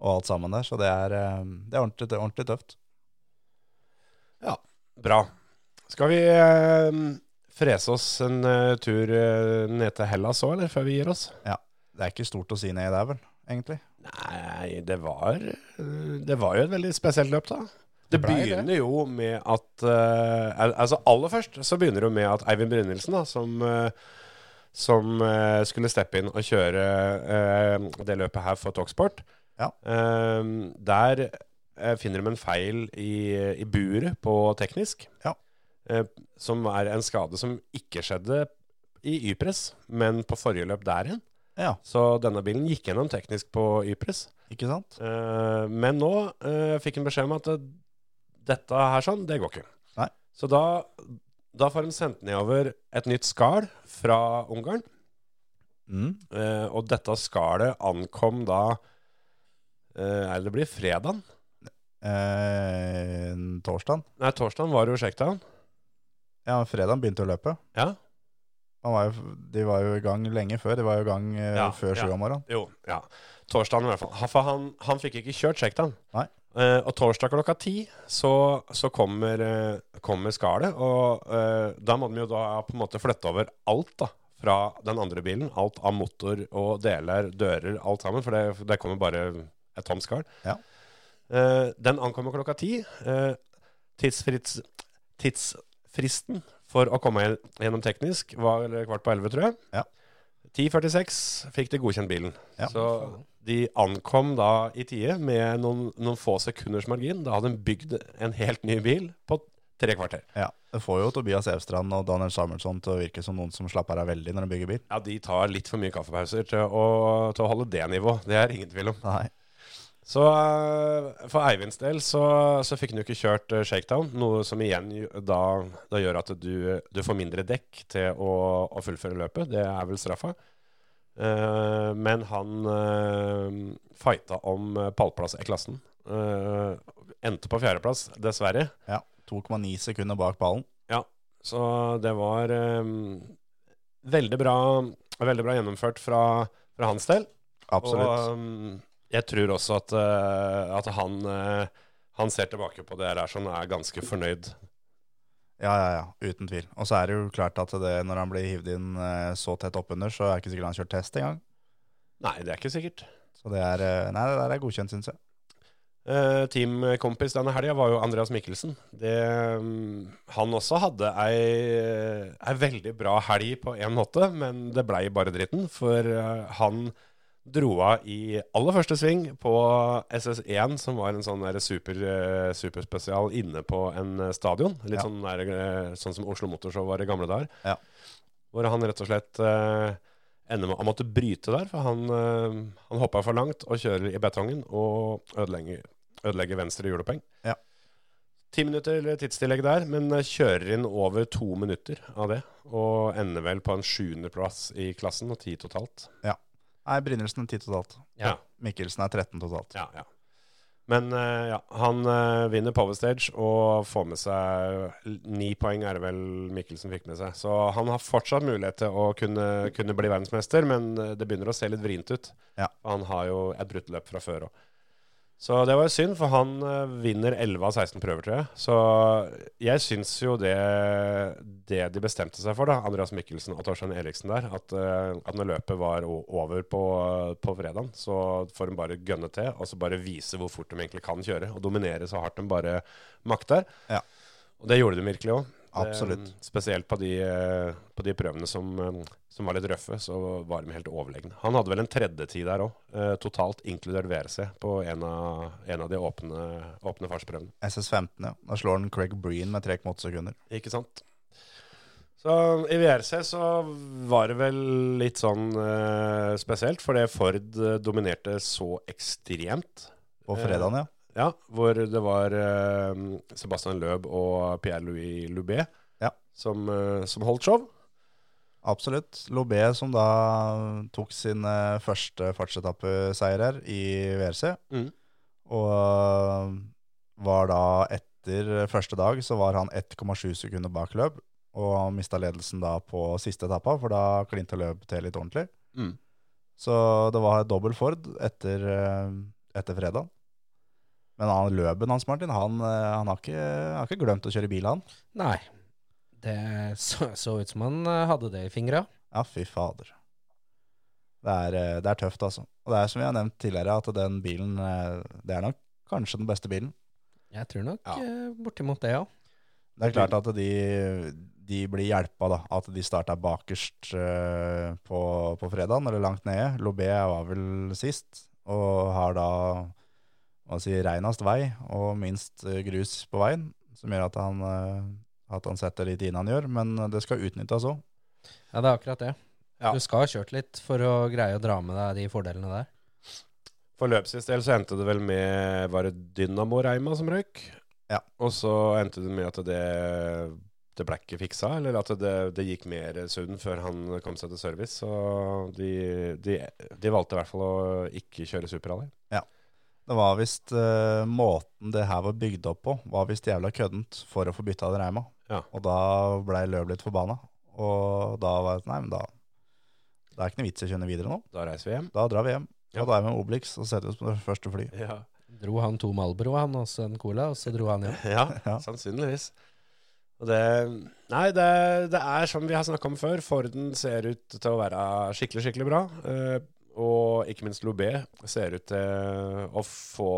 og alt sammen der. Så det er, eh, det er ordentlig, ordentlig tøft.
Bra. Skal vi eh, frese oss en eh, tur eh, ned til Hellas òg, eller? Før vi gir oss?
Det er ikke stort å si ned der, vel, egentlig.
Nei, det var eh, Det var jo et veldig spesielt løp, da. Det
ble det.
begynner jo med at eh, al- Altså Aller først så begynner det jo med at Eivind Brynildsen, da, som, eh, som eh, skulle steppe inn og kjøre eh, det løpet her for Talksport
Ja.
eh, Der eh, finner de en feil i, i buret på teknisk,
Ja.
eh, som er en skade som ikke skjedde i Y-press, men på forrige løp der igjen.
Ja,
Så denne bilen gikk gjennom teknisk på Y-press.
ikke sant?
Eh, men nå eh, fikk han beskjed om at eh, dette her sånn, det går ikke.
Nei.
Så da, da får de sendt nedover et nytt skall fra Ungarn.
Mm.
eh, og dette skallet ankom da eh, Eller det blir fredagen.
Eh, torsdagen.
Nei, torsdagen var det jo shakedown.
Ja, fredagen begynte å løpe.
Ja.
Han var jo, de var jo i gang lenge før. De var jo i gang eh,
Ja,
før sju
ja.
om morgenen.
Jo, ja. Torsdagen i hvert fall. Han- For han, han fikk ikke kjørt shakedown.
Nei.
Eh, og torsdag klokka ti så, så kommer, eh, kommer skallet, og eh, da må de jo da på en måte flytte over alt da, fra den andre bilen. Alt av motor og deler, dører, alt sammen, for det, det kommer bare et tomt skall.
Ja.
Eh, den ankommer klokka ti. Eh, tidsfrits, tidsfristen for å komme gjen- gjennom teknisk var kvart på elleve, tror jeg.
Ja.
10.46 fikk de godkjent bilen.
Ja.
Så de ankom da i tide med noen, noen få sekunders margin. Da hadde de bygd en helt ny bil på tre kvarter.
Ja, Det får jo Tobias Evstrand og Daniel Samuelsson til å virke som noen som slapper av veldig når de bygger bil.
Ja, de tar litt for mye kaffepauser til å, til å holde det nivå. Det er ingen tvil om.
Nei.
Så eh, for Eivinds del så, så fikk han jo ikke kjørt eh, shakedown, noe som igjen gj- da, da gjør at du, du får mindre dekk til å, å fullføre løpet. Det er vel straffa. Eh, men han eh, fighta om eh, pallplass i klassen. Eh, endte på fjerdeplass, dessverre.
Ja, 2,9 sekunder bak ballen.
Så det var eh, veldig, bra, veldig bra gjennomført fra, fra hans del.
Absolutt.
Og um, jeg tror også at, eh, at han, eh, han ser tilbake på det her som er ganske fornøyd.
Ja, ja, ja. Uten tvil. Og så er det jo klart at det, når han blir hivd inn eh, så tett oppunder, så er det ikke sikkert han har kjørt test engang.
Nei, det er ikke sikkert.
Så det er eh, Nei, det der er godkjent, syns jeg.
Eh, teamkompis denne helga var jo Andreas Mikkelsen. Det, mm, han også hadde ei, ei veldig bra helg på en måte, men det blei bare dritten. For eh, han dro av i aller første sving på SS1, som var en sånn der super, eh, superspesial inne på en eh, stadion. Litt
Ja.
sånn, der, eh, sånn som Oslo Motorshow var i gamle dager.
Ja.
Hvor han rett og slett eh, ender med å måtte bryte der, for han, eh, han hoppa for langt og kjører i betongen og ødelegger, ødelegger venstre hjuloppheng.
Ja.
Ti minutter tidstillegg der, men eh, kjører inn over to minutter av det. Og ender vel på en sjuendeplass i klassen, og ti totalt.
Nei, Brynildsen er 10 totalt.
Ja.
Mikkelsen er 13 totalt.
Ja, ja. Men eh, ja, han eh, vinner Power Stage og får med seg l- ni poeng, er det vel Mikkelsen fikk med seg. Så han har fortsatt mulighet til å kunne, kunne bli verdensmester, men eh, det begynner å se litt vrient ut.
Ja.
Han har jo et brutt løp fra før òg. Så det var jo synd, for han eh, vinner 11 av 16 prøver, tror jeg. Så jeg syns jo det, det de bestemte seg for, da, Andreas Mikkelsen og Torstein Eriksen der, at, eh, at når løpet var o- over på, på fredagen, så får de bare gønne til og så bare vise hvor fort de egentlig kan kjøre. Og dominere så hardt de bare makter.
Ja.
Og det gjorde de virkelig òg.
Absolutt.
Spesielt på de, eh, på de prøvene som, eh, som var litt røffe, så var de helt overlegne. Han hadde vel en tredjetid der òg, totalt inkludert WRC, på en av, en av de åpne, åpne fartsprøvene.
SS15, ja. Da slår han Craig Breen med 3,8 sekunder.
Ikke sant? Så i WRC så var det vel litt sånn eh, spesielt, fordi Ford eh, dominerte så ekstremt.
På fredagen, ja.
Ja, hvor det var eh, Sebastian Løb og Pierre-Louis Loubet
Ja.
som, eh, som holdt show.
Absolutt. Lobé, som da tok sin eh, første fartsetappeseier her i WRC,
Mm.
og eh, var da etter første dag så var han 1,7 sekunder bak løp, og han mista ledelsen da på siste etappa, for da klinte løp til litt ordentlig.
Mm.
Så det var dobbel Ford etter, eh, etter fredag. Men han løpen hans, Martin, han, eh, han, har, ikke, han har ikke glemt å kjøre bil, han.
Nei. Det så, så ut som han eh, hadde det i fingra.
Ja, fy fader. Det er, eh, det er tøft, altså. Og det er som vi har nevnt tidligere, at den bilen eh, Det er nok kanskje den beste bilen.
Jeg tror nok
Ja.
eh, bortimot det, ja.
Det er klart at de, de blir hjelpa, da. At de starta bakerst eh, på, på fredagen, eller langt nede. Lobé var vel sist, og har da hva si, reinest vei og minst eh, grus på veien, som gjør at han, eh, at han setter litt inn han gjør. Men det skal utnyttes òg.
Ja, det er akkurat det.
Ja.
Du skal ha kjørt litt for å greie å dra med deg de fordelene der.
For løpsins del så endte det vel med Var det Dynamo Reima som røyk?
Ja.
Og så endte det med at det det ble ikke fiksa, eller at det, det gikk mer sund før han kom seg til service. Så de, de, de valgte i hvert fall å ikke kjøre superrally.
Det var visst eh, måten det her var bygd opp på, var visst jævla køddent for å få bytta den reima.
Ja.
Og da blei Løv litt forbanna. Og da var det sånn, nei, men da Det er ikke noe vits i å kjøre videre nå.
Da reiser vi hjem.
Da drar vi hjem.
Ja.
Og da er vi med Obelix og setter oss på det første fly.
Ja,
Dro han to Malbro, han, og så en cola, og så dro han hjem.
Ja.
sannsynligvis. Og det Nei, det, det er som vi har snakka om før. Forden ser ut til å være skikkelig, skikkelig bra. Eh, og ikke minst Lobé ser ut til å få,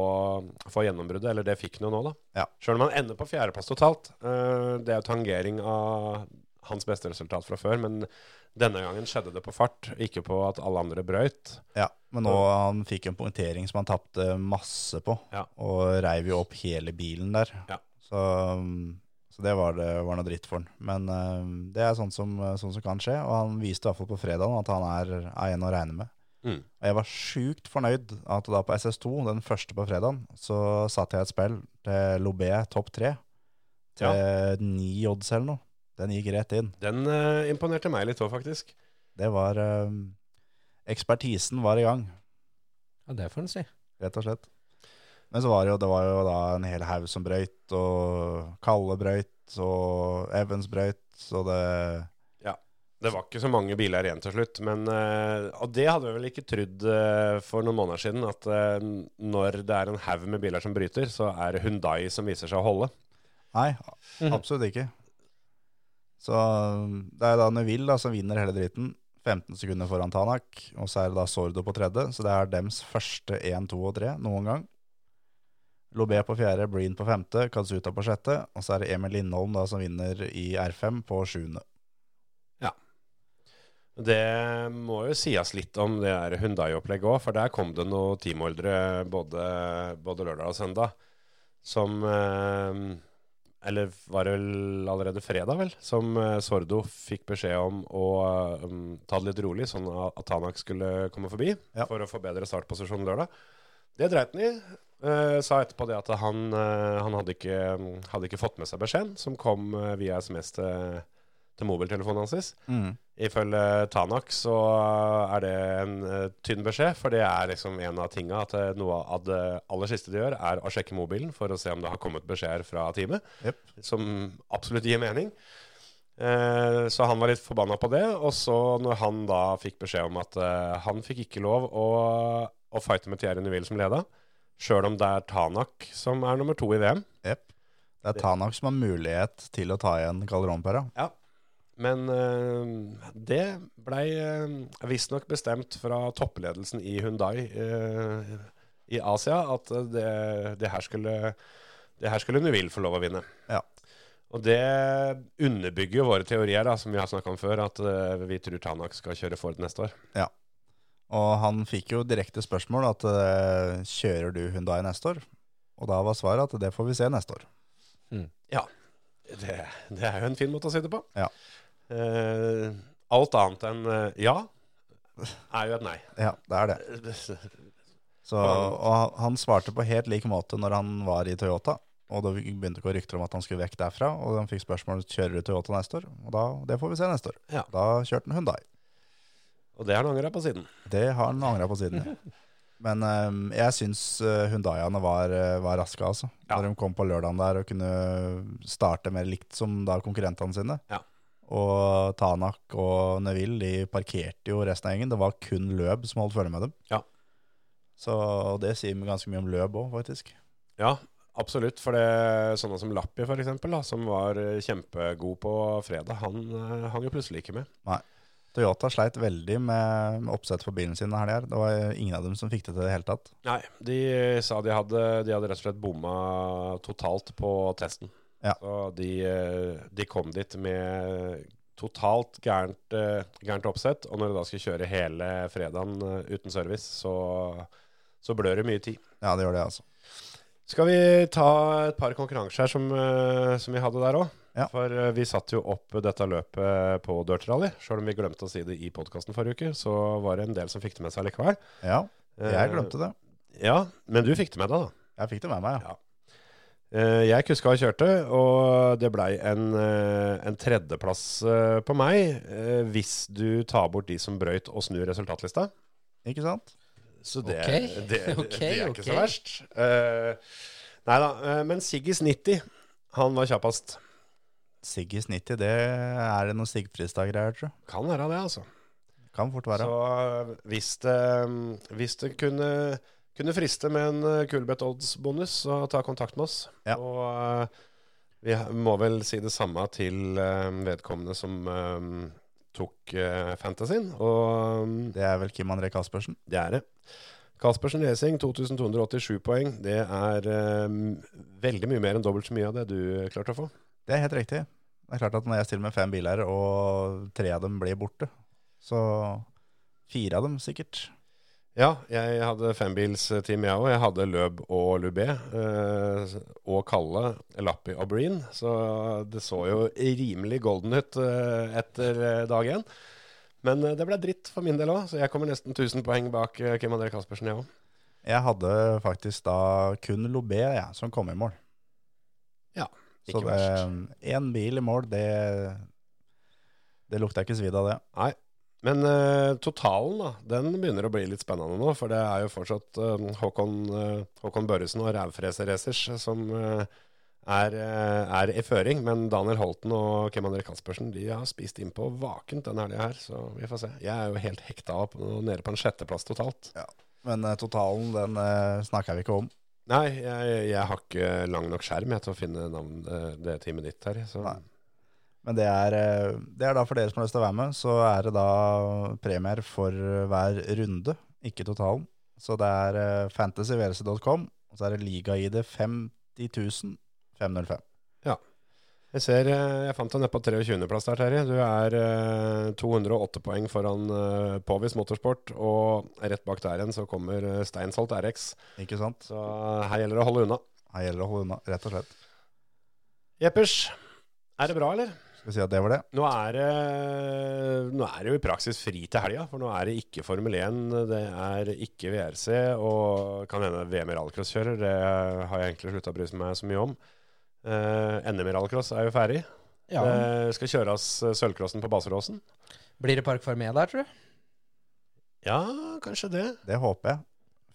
få gjennombruddet, eller det fikk han jo nå, da.
Ja.
Sjøl om han ender på fjerdeplass totalt. eh, det er jo tangering av hans beste resultat fra før, men denne gangen skjedde det på fart, ikke på at alle andre brøyt.
Ja, men nå han fikk en punktering som han tapte masse på,
Ja.
og reiv jo opp hele bilen der.
Ja.
Så, um, så det var, det var noe dritt for han. Men um, det er sånt som, sånt som kan skje, og han viste i hvert fall på fredagen at han er, er en å regne med.
Mm.
Og jeg var sjukt fornøyd at da på SS2, den første på fredagen, så satte jeg et spill til Lobé topp tre, til ni odds eller noe. Den gikk rett inn.
Den eh, imponerte meg litt òg, faktisk.
Det var, um, ekspertisen var i gang.
Ja, det får han si.
rett og slett. Men så var det jo, det var jo da en hel haug som brøyt, og Kalle brøyt, og Evans brøyt, så det
Det var ikke så mange biler igjen til slutt, men eh, Og det hadde vi vel ikke trodd eh, for noen måneder siden, at eh, når det er en haug med biler som bryter, så er det Hundai som viser seg å holde.
Nei, absolutt ikke. Så det er da Neville da, som vinner hele dritten, 15 sekunder foran Tanak, og så er det da Sordo på tredje, så det er dems første 1, 2 og 3 noen gang. Lobé på fjerde, Breen på femte, Katsuta på sjette, og så er det Emil Lindholm da som vinner i R5 på sjuende.
Det må jo sies litt om det der Hundai-opplegget òg, for der kom det noen teamholdere både, både lørdag og søndag som eh, Eller var det vel allerede fredag, vel? Som eh, Sordo fikk beskjed om å eh, ta det litt rolig, sånn at Tanak skulle komme forbi
Ja.
for å få bedre startposisjon lørdag. Det dreit han i. Eh, sa etterpå det at han, eh, han hadde, ikke, hadde ikke fått med seg beskjeden, som kom eh, via SMS til til mobiltelefonen hans.
Mm.
Ifølge Tanak så er det en eh, tynn beskjed, for det er liksom en av tinga at eh, noe av det aller siste de gjør, er å sjekke mobilen for å se om det har kommet beskjeder fra teamet
Jep.
som absolutt gir mening. Eh, så han var litt forbanna på det. Og så når han da fikk beskjed om at eh, han fikk ikke lov å, å fighte med Thierry Neville som leda, sjøl om det er Tanak som er nummer to i VM.
Jep. Det er Tanak som har mulighet til å ta igjen Calderón-pæra.
Men eh, det blei eh, visstnok bestemt fra toppledelsen i Hundai eh, i Asia at eh, det, det her skulle det her skulle Nuvill få lov å vinne.
Ja.
Og det underbygger jo våre teorier, da, som vi har snakka om før, at eh, vi tror Tanak skal kjøre Ford neste år.
Og han fikk jo direkte spørsmål at eh, kjører du Hyundai neste år? Og da var svaret at det får vi se neste år.
Det, det er jo en fin måte å si det på.
Ja.
Eh, alt annet enn eh, ja er jo et nei.
Ja, det er det. Så, og han svarte på helt lik måte når han var i Toyota. Og det begynte å gå rykter om at han skulle vekk derfra. Og han fikk spørsmål kjører du Toyota neste år. Og da, det får vi se neste år.
Ja.
Da kjørte han Hyundai.
Og det har han angra på siden.
Det har han angra på siden. ja. Men eh, jeg syns uh, Hundaiene var, eh, var raske, altså.
Ja.
Når de kom på lørdagen der og kunne starte mer likt som da konkurrentene sine.
Ja.
Og Tanak og Neville de parkerte jo resten av gjengen. Det var kun Løb som holdt følge med dem.
Ja.
Så og det sier ganske mye om Løb òg, faktisk.
Ja, absolutt. For det sånne som Lappi, for eksempel, da, som var eh, kjempegod på fredag, han eh, hang jo plutselig ikke med.
Toyota sleit veldig med, med oppsett for bilen sin her. Det var ingen av dem som fikk det til i det hele tatt.
Nei, de sa de hadde, de hadde rett og slett bomma totalt på testen.
Ja.
Så de, eh, de kom dit med totalt gærent, eh, gærent oppsett, og når de da skulle kjøre hele fredagen eh, uten service, så, så blør det mye tid.
Ja, det gjør det, altså.
Skal vi ta et par konkurranser her som, eh, som vi hadde der òg?
Ja.
For eh, vi satte jo opp dette løpet på Dirt Rally. Sjøl om vi glemte å si det i podkasten forrige uke, så var det en del som fikk det med seg likevel. Eh,
Ja, jeg glemte det.
Ja, men du fikk det med deg, da.
Jeg fikk det med meg, ja.
Eh, Jeg kuska og kjørte, og det blei en, eh, en tredjeplass eh, på meg eh, hvis du tar bort de som brøyt og snur resultatlista.
Ikke sant?
Så det,
Ok,
det, det,
ok,
det er ikke så
ok.
verst. Uh, nei da, eh, men Siggis 90, han var kjappest.
Siggis 90, det er det noen Sigfridstad-greier, tror jeg.
Kan være det, altså.
Kan fort være.
Så eh, hvis det, mm, hvis det kunne, kunne friste med en eh, Kulbeth Odds-bonus, så ta kontakt med oss.
Ja.
Og eh, vi ha- må vel si det samme til eh, vedkommende som eh, tok eh, Fantasyen, og eh,
Det er vel Kim André Caspersen.
det er det. Kaspersen Racing, 2287 poeng. Det er eh, veldig mye mer enn dobbelt så mye av det du eh, klarte å få.
Det er helt riktig. Det er klart at når jeg stiller med fem biler, og tre av dem blir borte, så Fire av dem, sikkert.
Ja, jeg hadde fembilsteam jeg òg. Jeg hadde Løb og Lubé. Eh, og Kalle, Lappi og Breen. Så det så jo rimelig golden ut eh, etter eh, dag én. Men eh, det ble dritt for min del òg, så jeg kommer nesten 1000 poeng bak eh, Kim André Caspersen, jeg òg.
Jeg hadde faktisk da kun Lobé jeg, som kom i mål.
Ja,
Så
ikke
det, én bil i mål, det, det lukta ikke svidd av det.
Men eh, totalen da, den begynner å bli litt spennende nå, for det er jo fortsatt eh, Håkon, eh, Håkon Børresen og Rævfreser Racers som eh, er, eh, er i føring. Men Daniel Holten og Kim André Kaspersen de har spist innpå vakent denne helga her, så vi får se. Jeg er jo helt hekta opp og nede på en sjetteplass totalt.
Men eh, totalen, den eh, snakker vi ikke om.
Nei, jeg, jeg har ikke lang nok skjerm jeg, til å finne navn, eh, det teamet ditt her. Så.
Nei. Men det er, eh, det er da for dere som har lyst til å være med, så er det da premier for hver runde, ikke totalen. Så det er eh, fantasyvrc.com, og så er det liga-ID 50.505.
Jeg ser, eh, jeg fant deg nede på 23.-plass der, Terje. Du er eh, 208 poeng foran eh, Påvis Motorsport, og rett bak der igjen så kommer eh, Steinsholt RX.
Ikke sant?
Så eh, her gjelder det å holde unna.
Her gjelder det å holde unna, rett og slett.
Jeppers, er det bra, eller?
Skal vi si at det var det?
Nå er det, nå er det jo i praksis fri til helga, for nå er det ikke Formel 1, det er ikke VRC, og kan hende VM i Eh, rallcrosskjører. Det har jeg egentlig slutta å bry meg så mye om. Eh, NM i rallcross er jo ferdig.
Ja.
Eh, skal kjøre oss eh, sølvcrossen på Baseråsen.
Blir det Park Fermé der, tror du?
Ja, kanskje det.
Det håper jeg.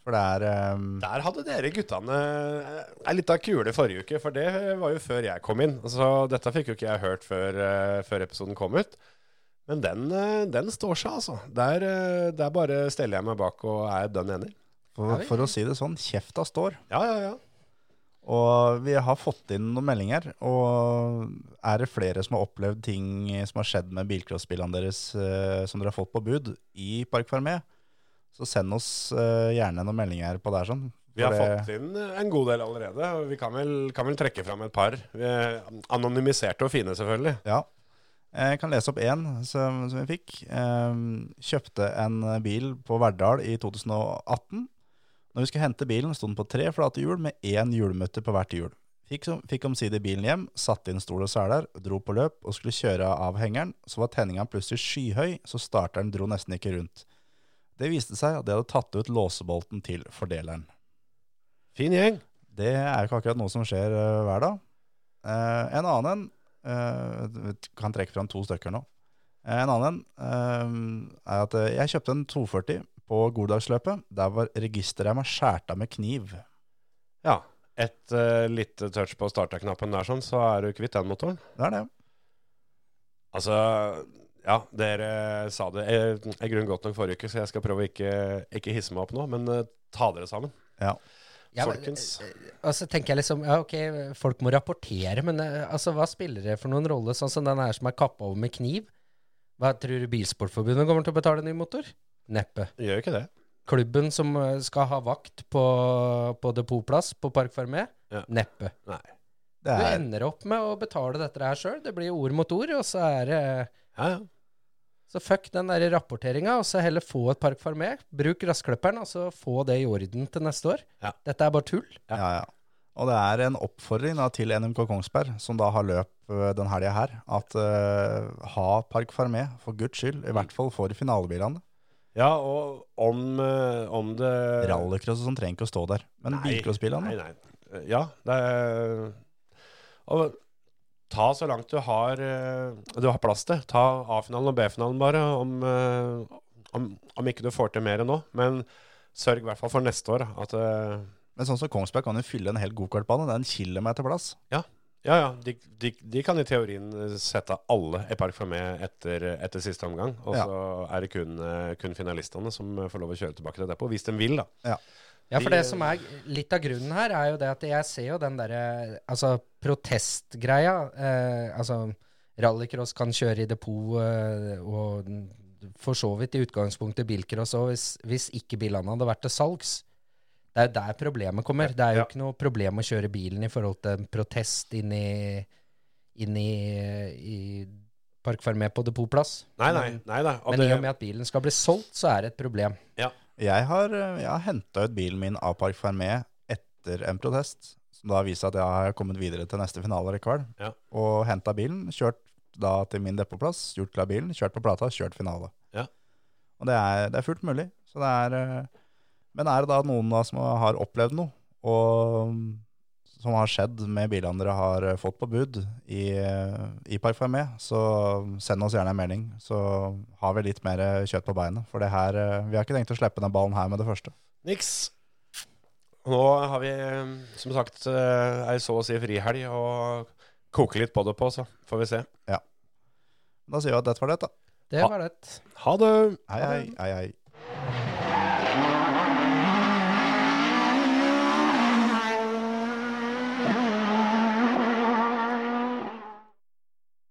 For det er ehm,
Der hadde dere guttene eh, ei lita kule forrige uke, for det var jo før jeg kom inn. Så dette fikk jo ikke jeg hørt før, eh, før episoden kom ut. Men den, eh, den står seg, altså. Der, eh, der bare steller jeg meg bak og er dønn enig.
Ja,
for,
vi-
for å si det sånn, kjefta står.
Ja, ja, ja.
Og vi har fått inn noen meldinger. Og er det flere som har opplevd ting som har skjedd med bilcrossbilene deres eh, som dere har fått på bud i Park Fermé, så send oss eh, gjerne noen meldinger på der sånn.
Vi har
For det-
fått inn eh, en god del allerede. og Vi kan vel, kan vel trekke fram et par. Eh, Anonymiserte og fine, selvfølgelig.
Ja. Eh, Jeg kan lese opp én som, som vi fikk. Ehm, kjøpte en bil på Verdal i 2018. Når vi skulle hente bilen, sto den på tre flate hjul med én hjulmøtte på hvert hjul. Fikk, som, fikk omsider bilen hjem, satte inn stol og seler, dro på løp og skulle kjøre av hengeren. Så var tenninga plutselig skyhøy, så starteren dro nesten ikke rundt. Det viste seg at de hadde tatt ut låsebolten til fordeleren.
Fin gjeng.
Det er jo ikke akkurat noe som skjer eh, hver dag. Eh, en annen en uh, Kan trekke fram to stykker nå. Eh, en annen en eh, er at eh, jeg kjøpte en 240 på goddagsløpet. Der var registerreima skjært av med kniv.
Ja. Et eh, lite touch på starterknappen der, sånn, så er du kvitt den motoren.
Det er det.
Altså, ja, dere sa det eh, i grunnen godt nok forrige uke, så jeg skal prøve å ikke, ikke hisse meg opp nå, men eh, ta dere sammen.
Ja, men,
Folkens.
eh, Altså tenker jeg liksom, ja ok, folk må rapportere, men eh, altså hva spiller det for noen rolle, sånn som den her som er kappa over med kniv? Hva tror du Bilsportforbundet kommer til å betale ny motor? Neppe.
Gjør ikke det.
Klubben som eh, skal ha vakt på, på depotplass på Park Fermé?
Ja.
Neppe.
Det
Du
er,
ender opp med å betale dette her sjøl, det blir ord mot ord, og så er det
Ja, ja.
så fuck den der rapporteringa, og så heller få et Park Fermé. Bruk grassklipperen, og så få det i orden til neste år.
Ja.
Dette er bare tull.
ja, ja. Og det er en oppfordring da, til NMK Kongsberg, som da har løp eh, den helga her, at eh, ha Park Farmé, for guds skyld. I hvert fall for finalebilene.
Ja, og om, eh, om det
Rallycross og sånn trenger ikke å stå der. Men
Nei,
bilcrossbilene
Nei, nei. Ja, det er Og ta så langt du har eh, Du har plass til. Ta A-finalen og B-finalen bare, om, eh, om, om ikke du får til mer enn nå. Men sørg i hvert fall for neste år at eh,
Men sånn som Kongsberg kan jo fylle en hel gokartbane. Det er en kilometer plass.
Ja, ja. De, de, de kan i teorien eh, sette alle i Park Fermé etter, etter siste omgang. Og
Ja.
så er det kun, eh, kun finalistene som eh, får lov å kjøre tilbake til depot, hvis de vil, da.
Ja, for
Vi-
det som er litt av grunnen her, er jo det at jeg ser jo den derre altså, protestgreia. Eh, altså, rallycross kan kjøre i depot, eh, og for så vidt i utgangspunktet bilcross òg, hvis, hvis ikke bilene hadde vært til salgs. Det er jo der problemet kommer. Det er jo
Ja.
ikke noe problem å kjøre bilen i forhold til en protest inn i, inn i, i Park Fermé på depotplass.
Nei, nei.
Men,
nei da. Og
Mm. men i og
det,
med at bilen skal bli solgt, så er det et problem.
Jeg har, eh, jeg har henta ut bilen min av Park Fermé etter en protest, som da viser at jeg har kommet videre til neste finale likevel.
Ja.
Og henta bilen, kjørt da til min depotplass, gjort klar bilen, kjørt på plata, kjørt finale.
Ja.
Og det er, det er fullt mulig. Så det er eh, Men er det da noen da som har opplevd noe, og som har skjedd med bilene dere har eh, fått på bud i, eh, i Park Fermé, så send oss gjerne en melding. Så har vi litt mer eh, kjøtt på beinet. For det her, eh, vi har ikke tenkt å slippe den ballen her med det første.
niks. Nå har vi eh, som sagt eh, ei så å si frihelg og koke litt på det på, så får vi se.
Da sier vi at dette var det, da.
Det
Ha-
var det.
Ha det!
Hei, hei, hei, hei.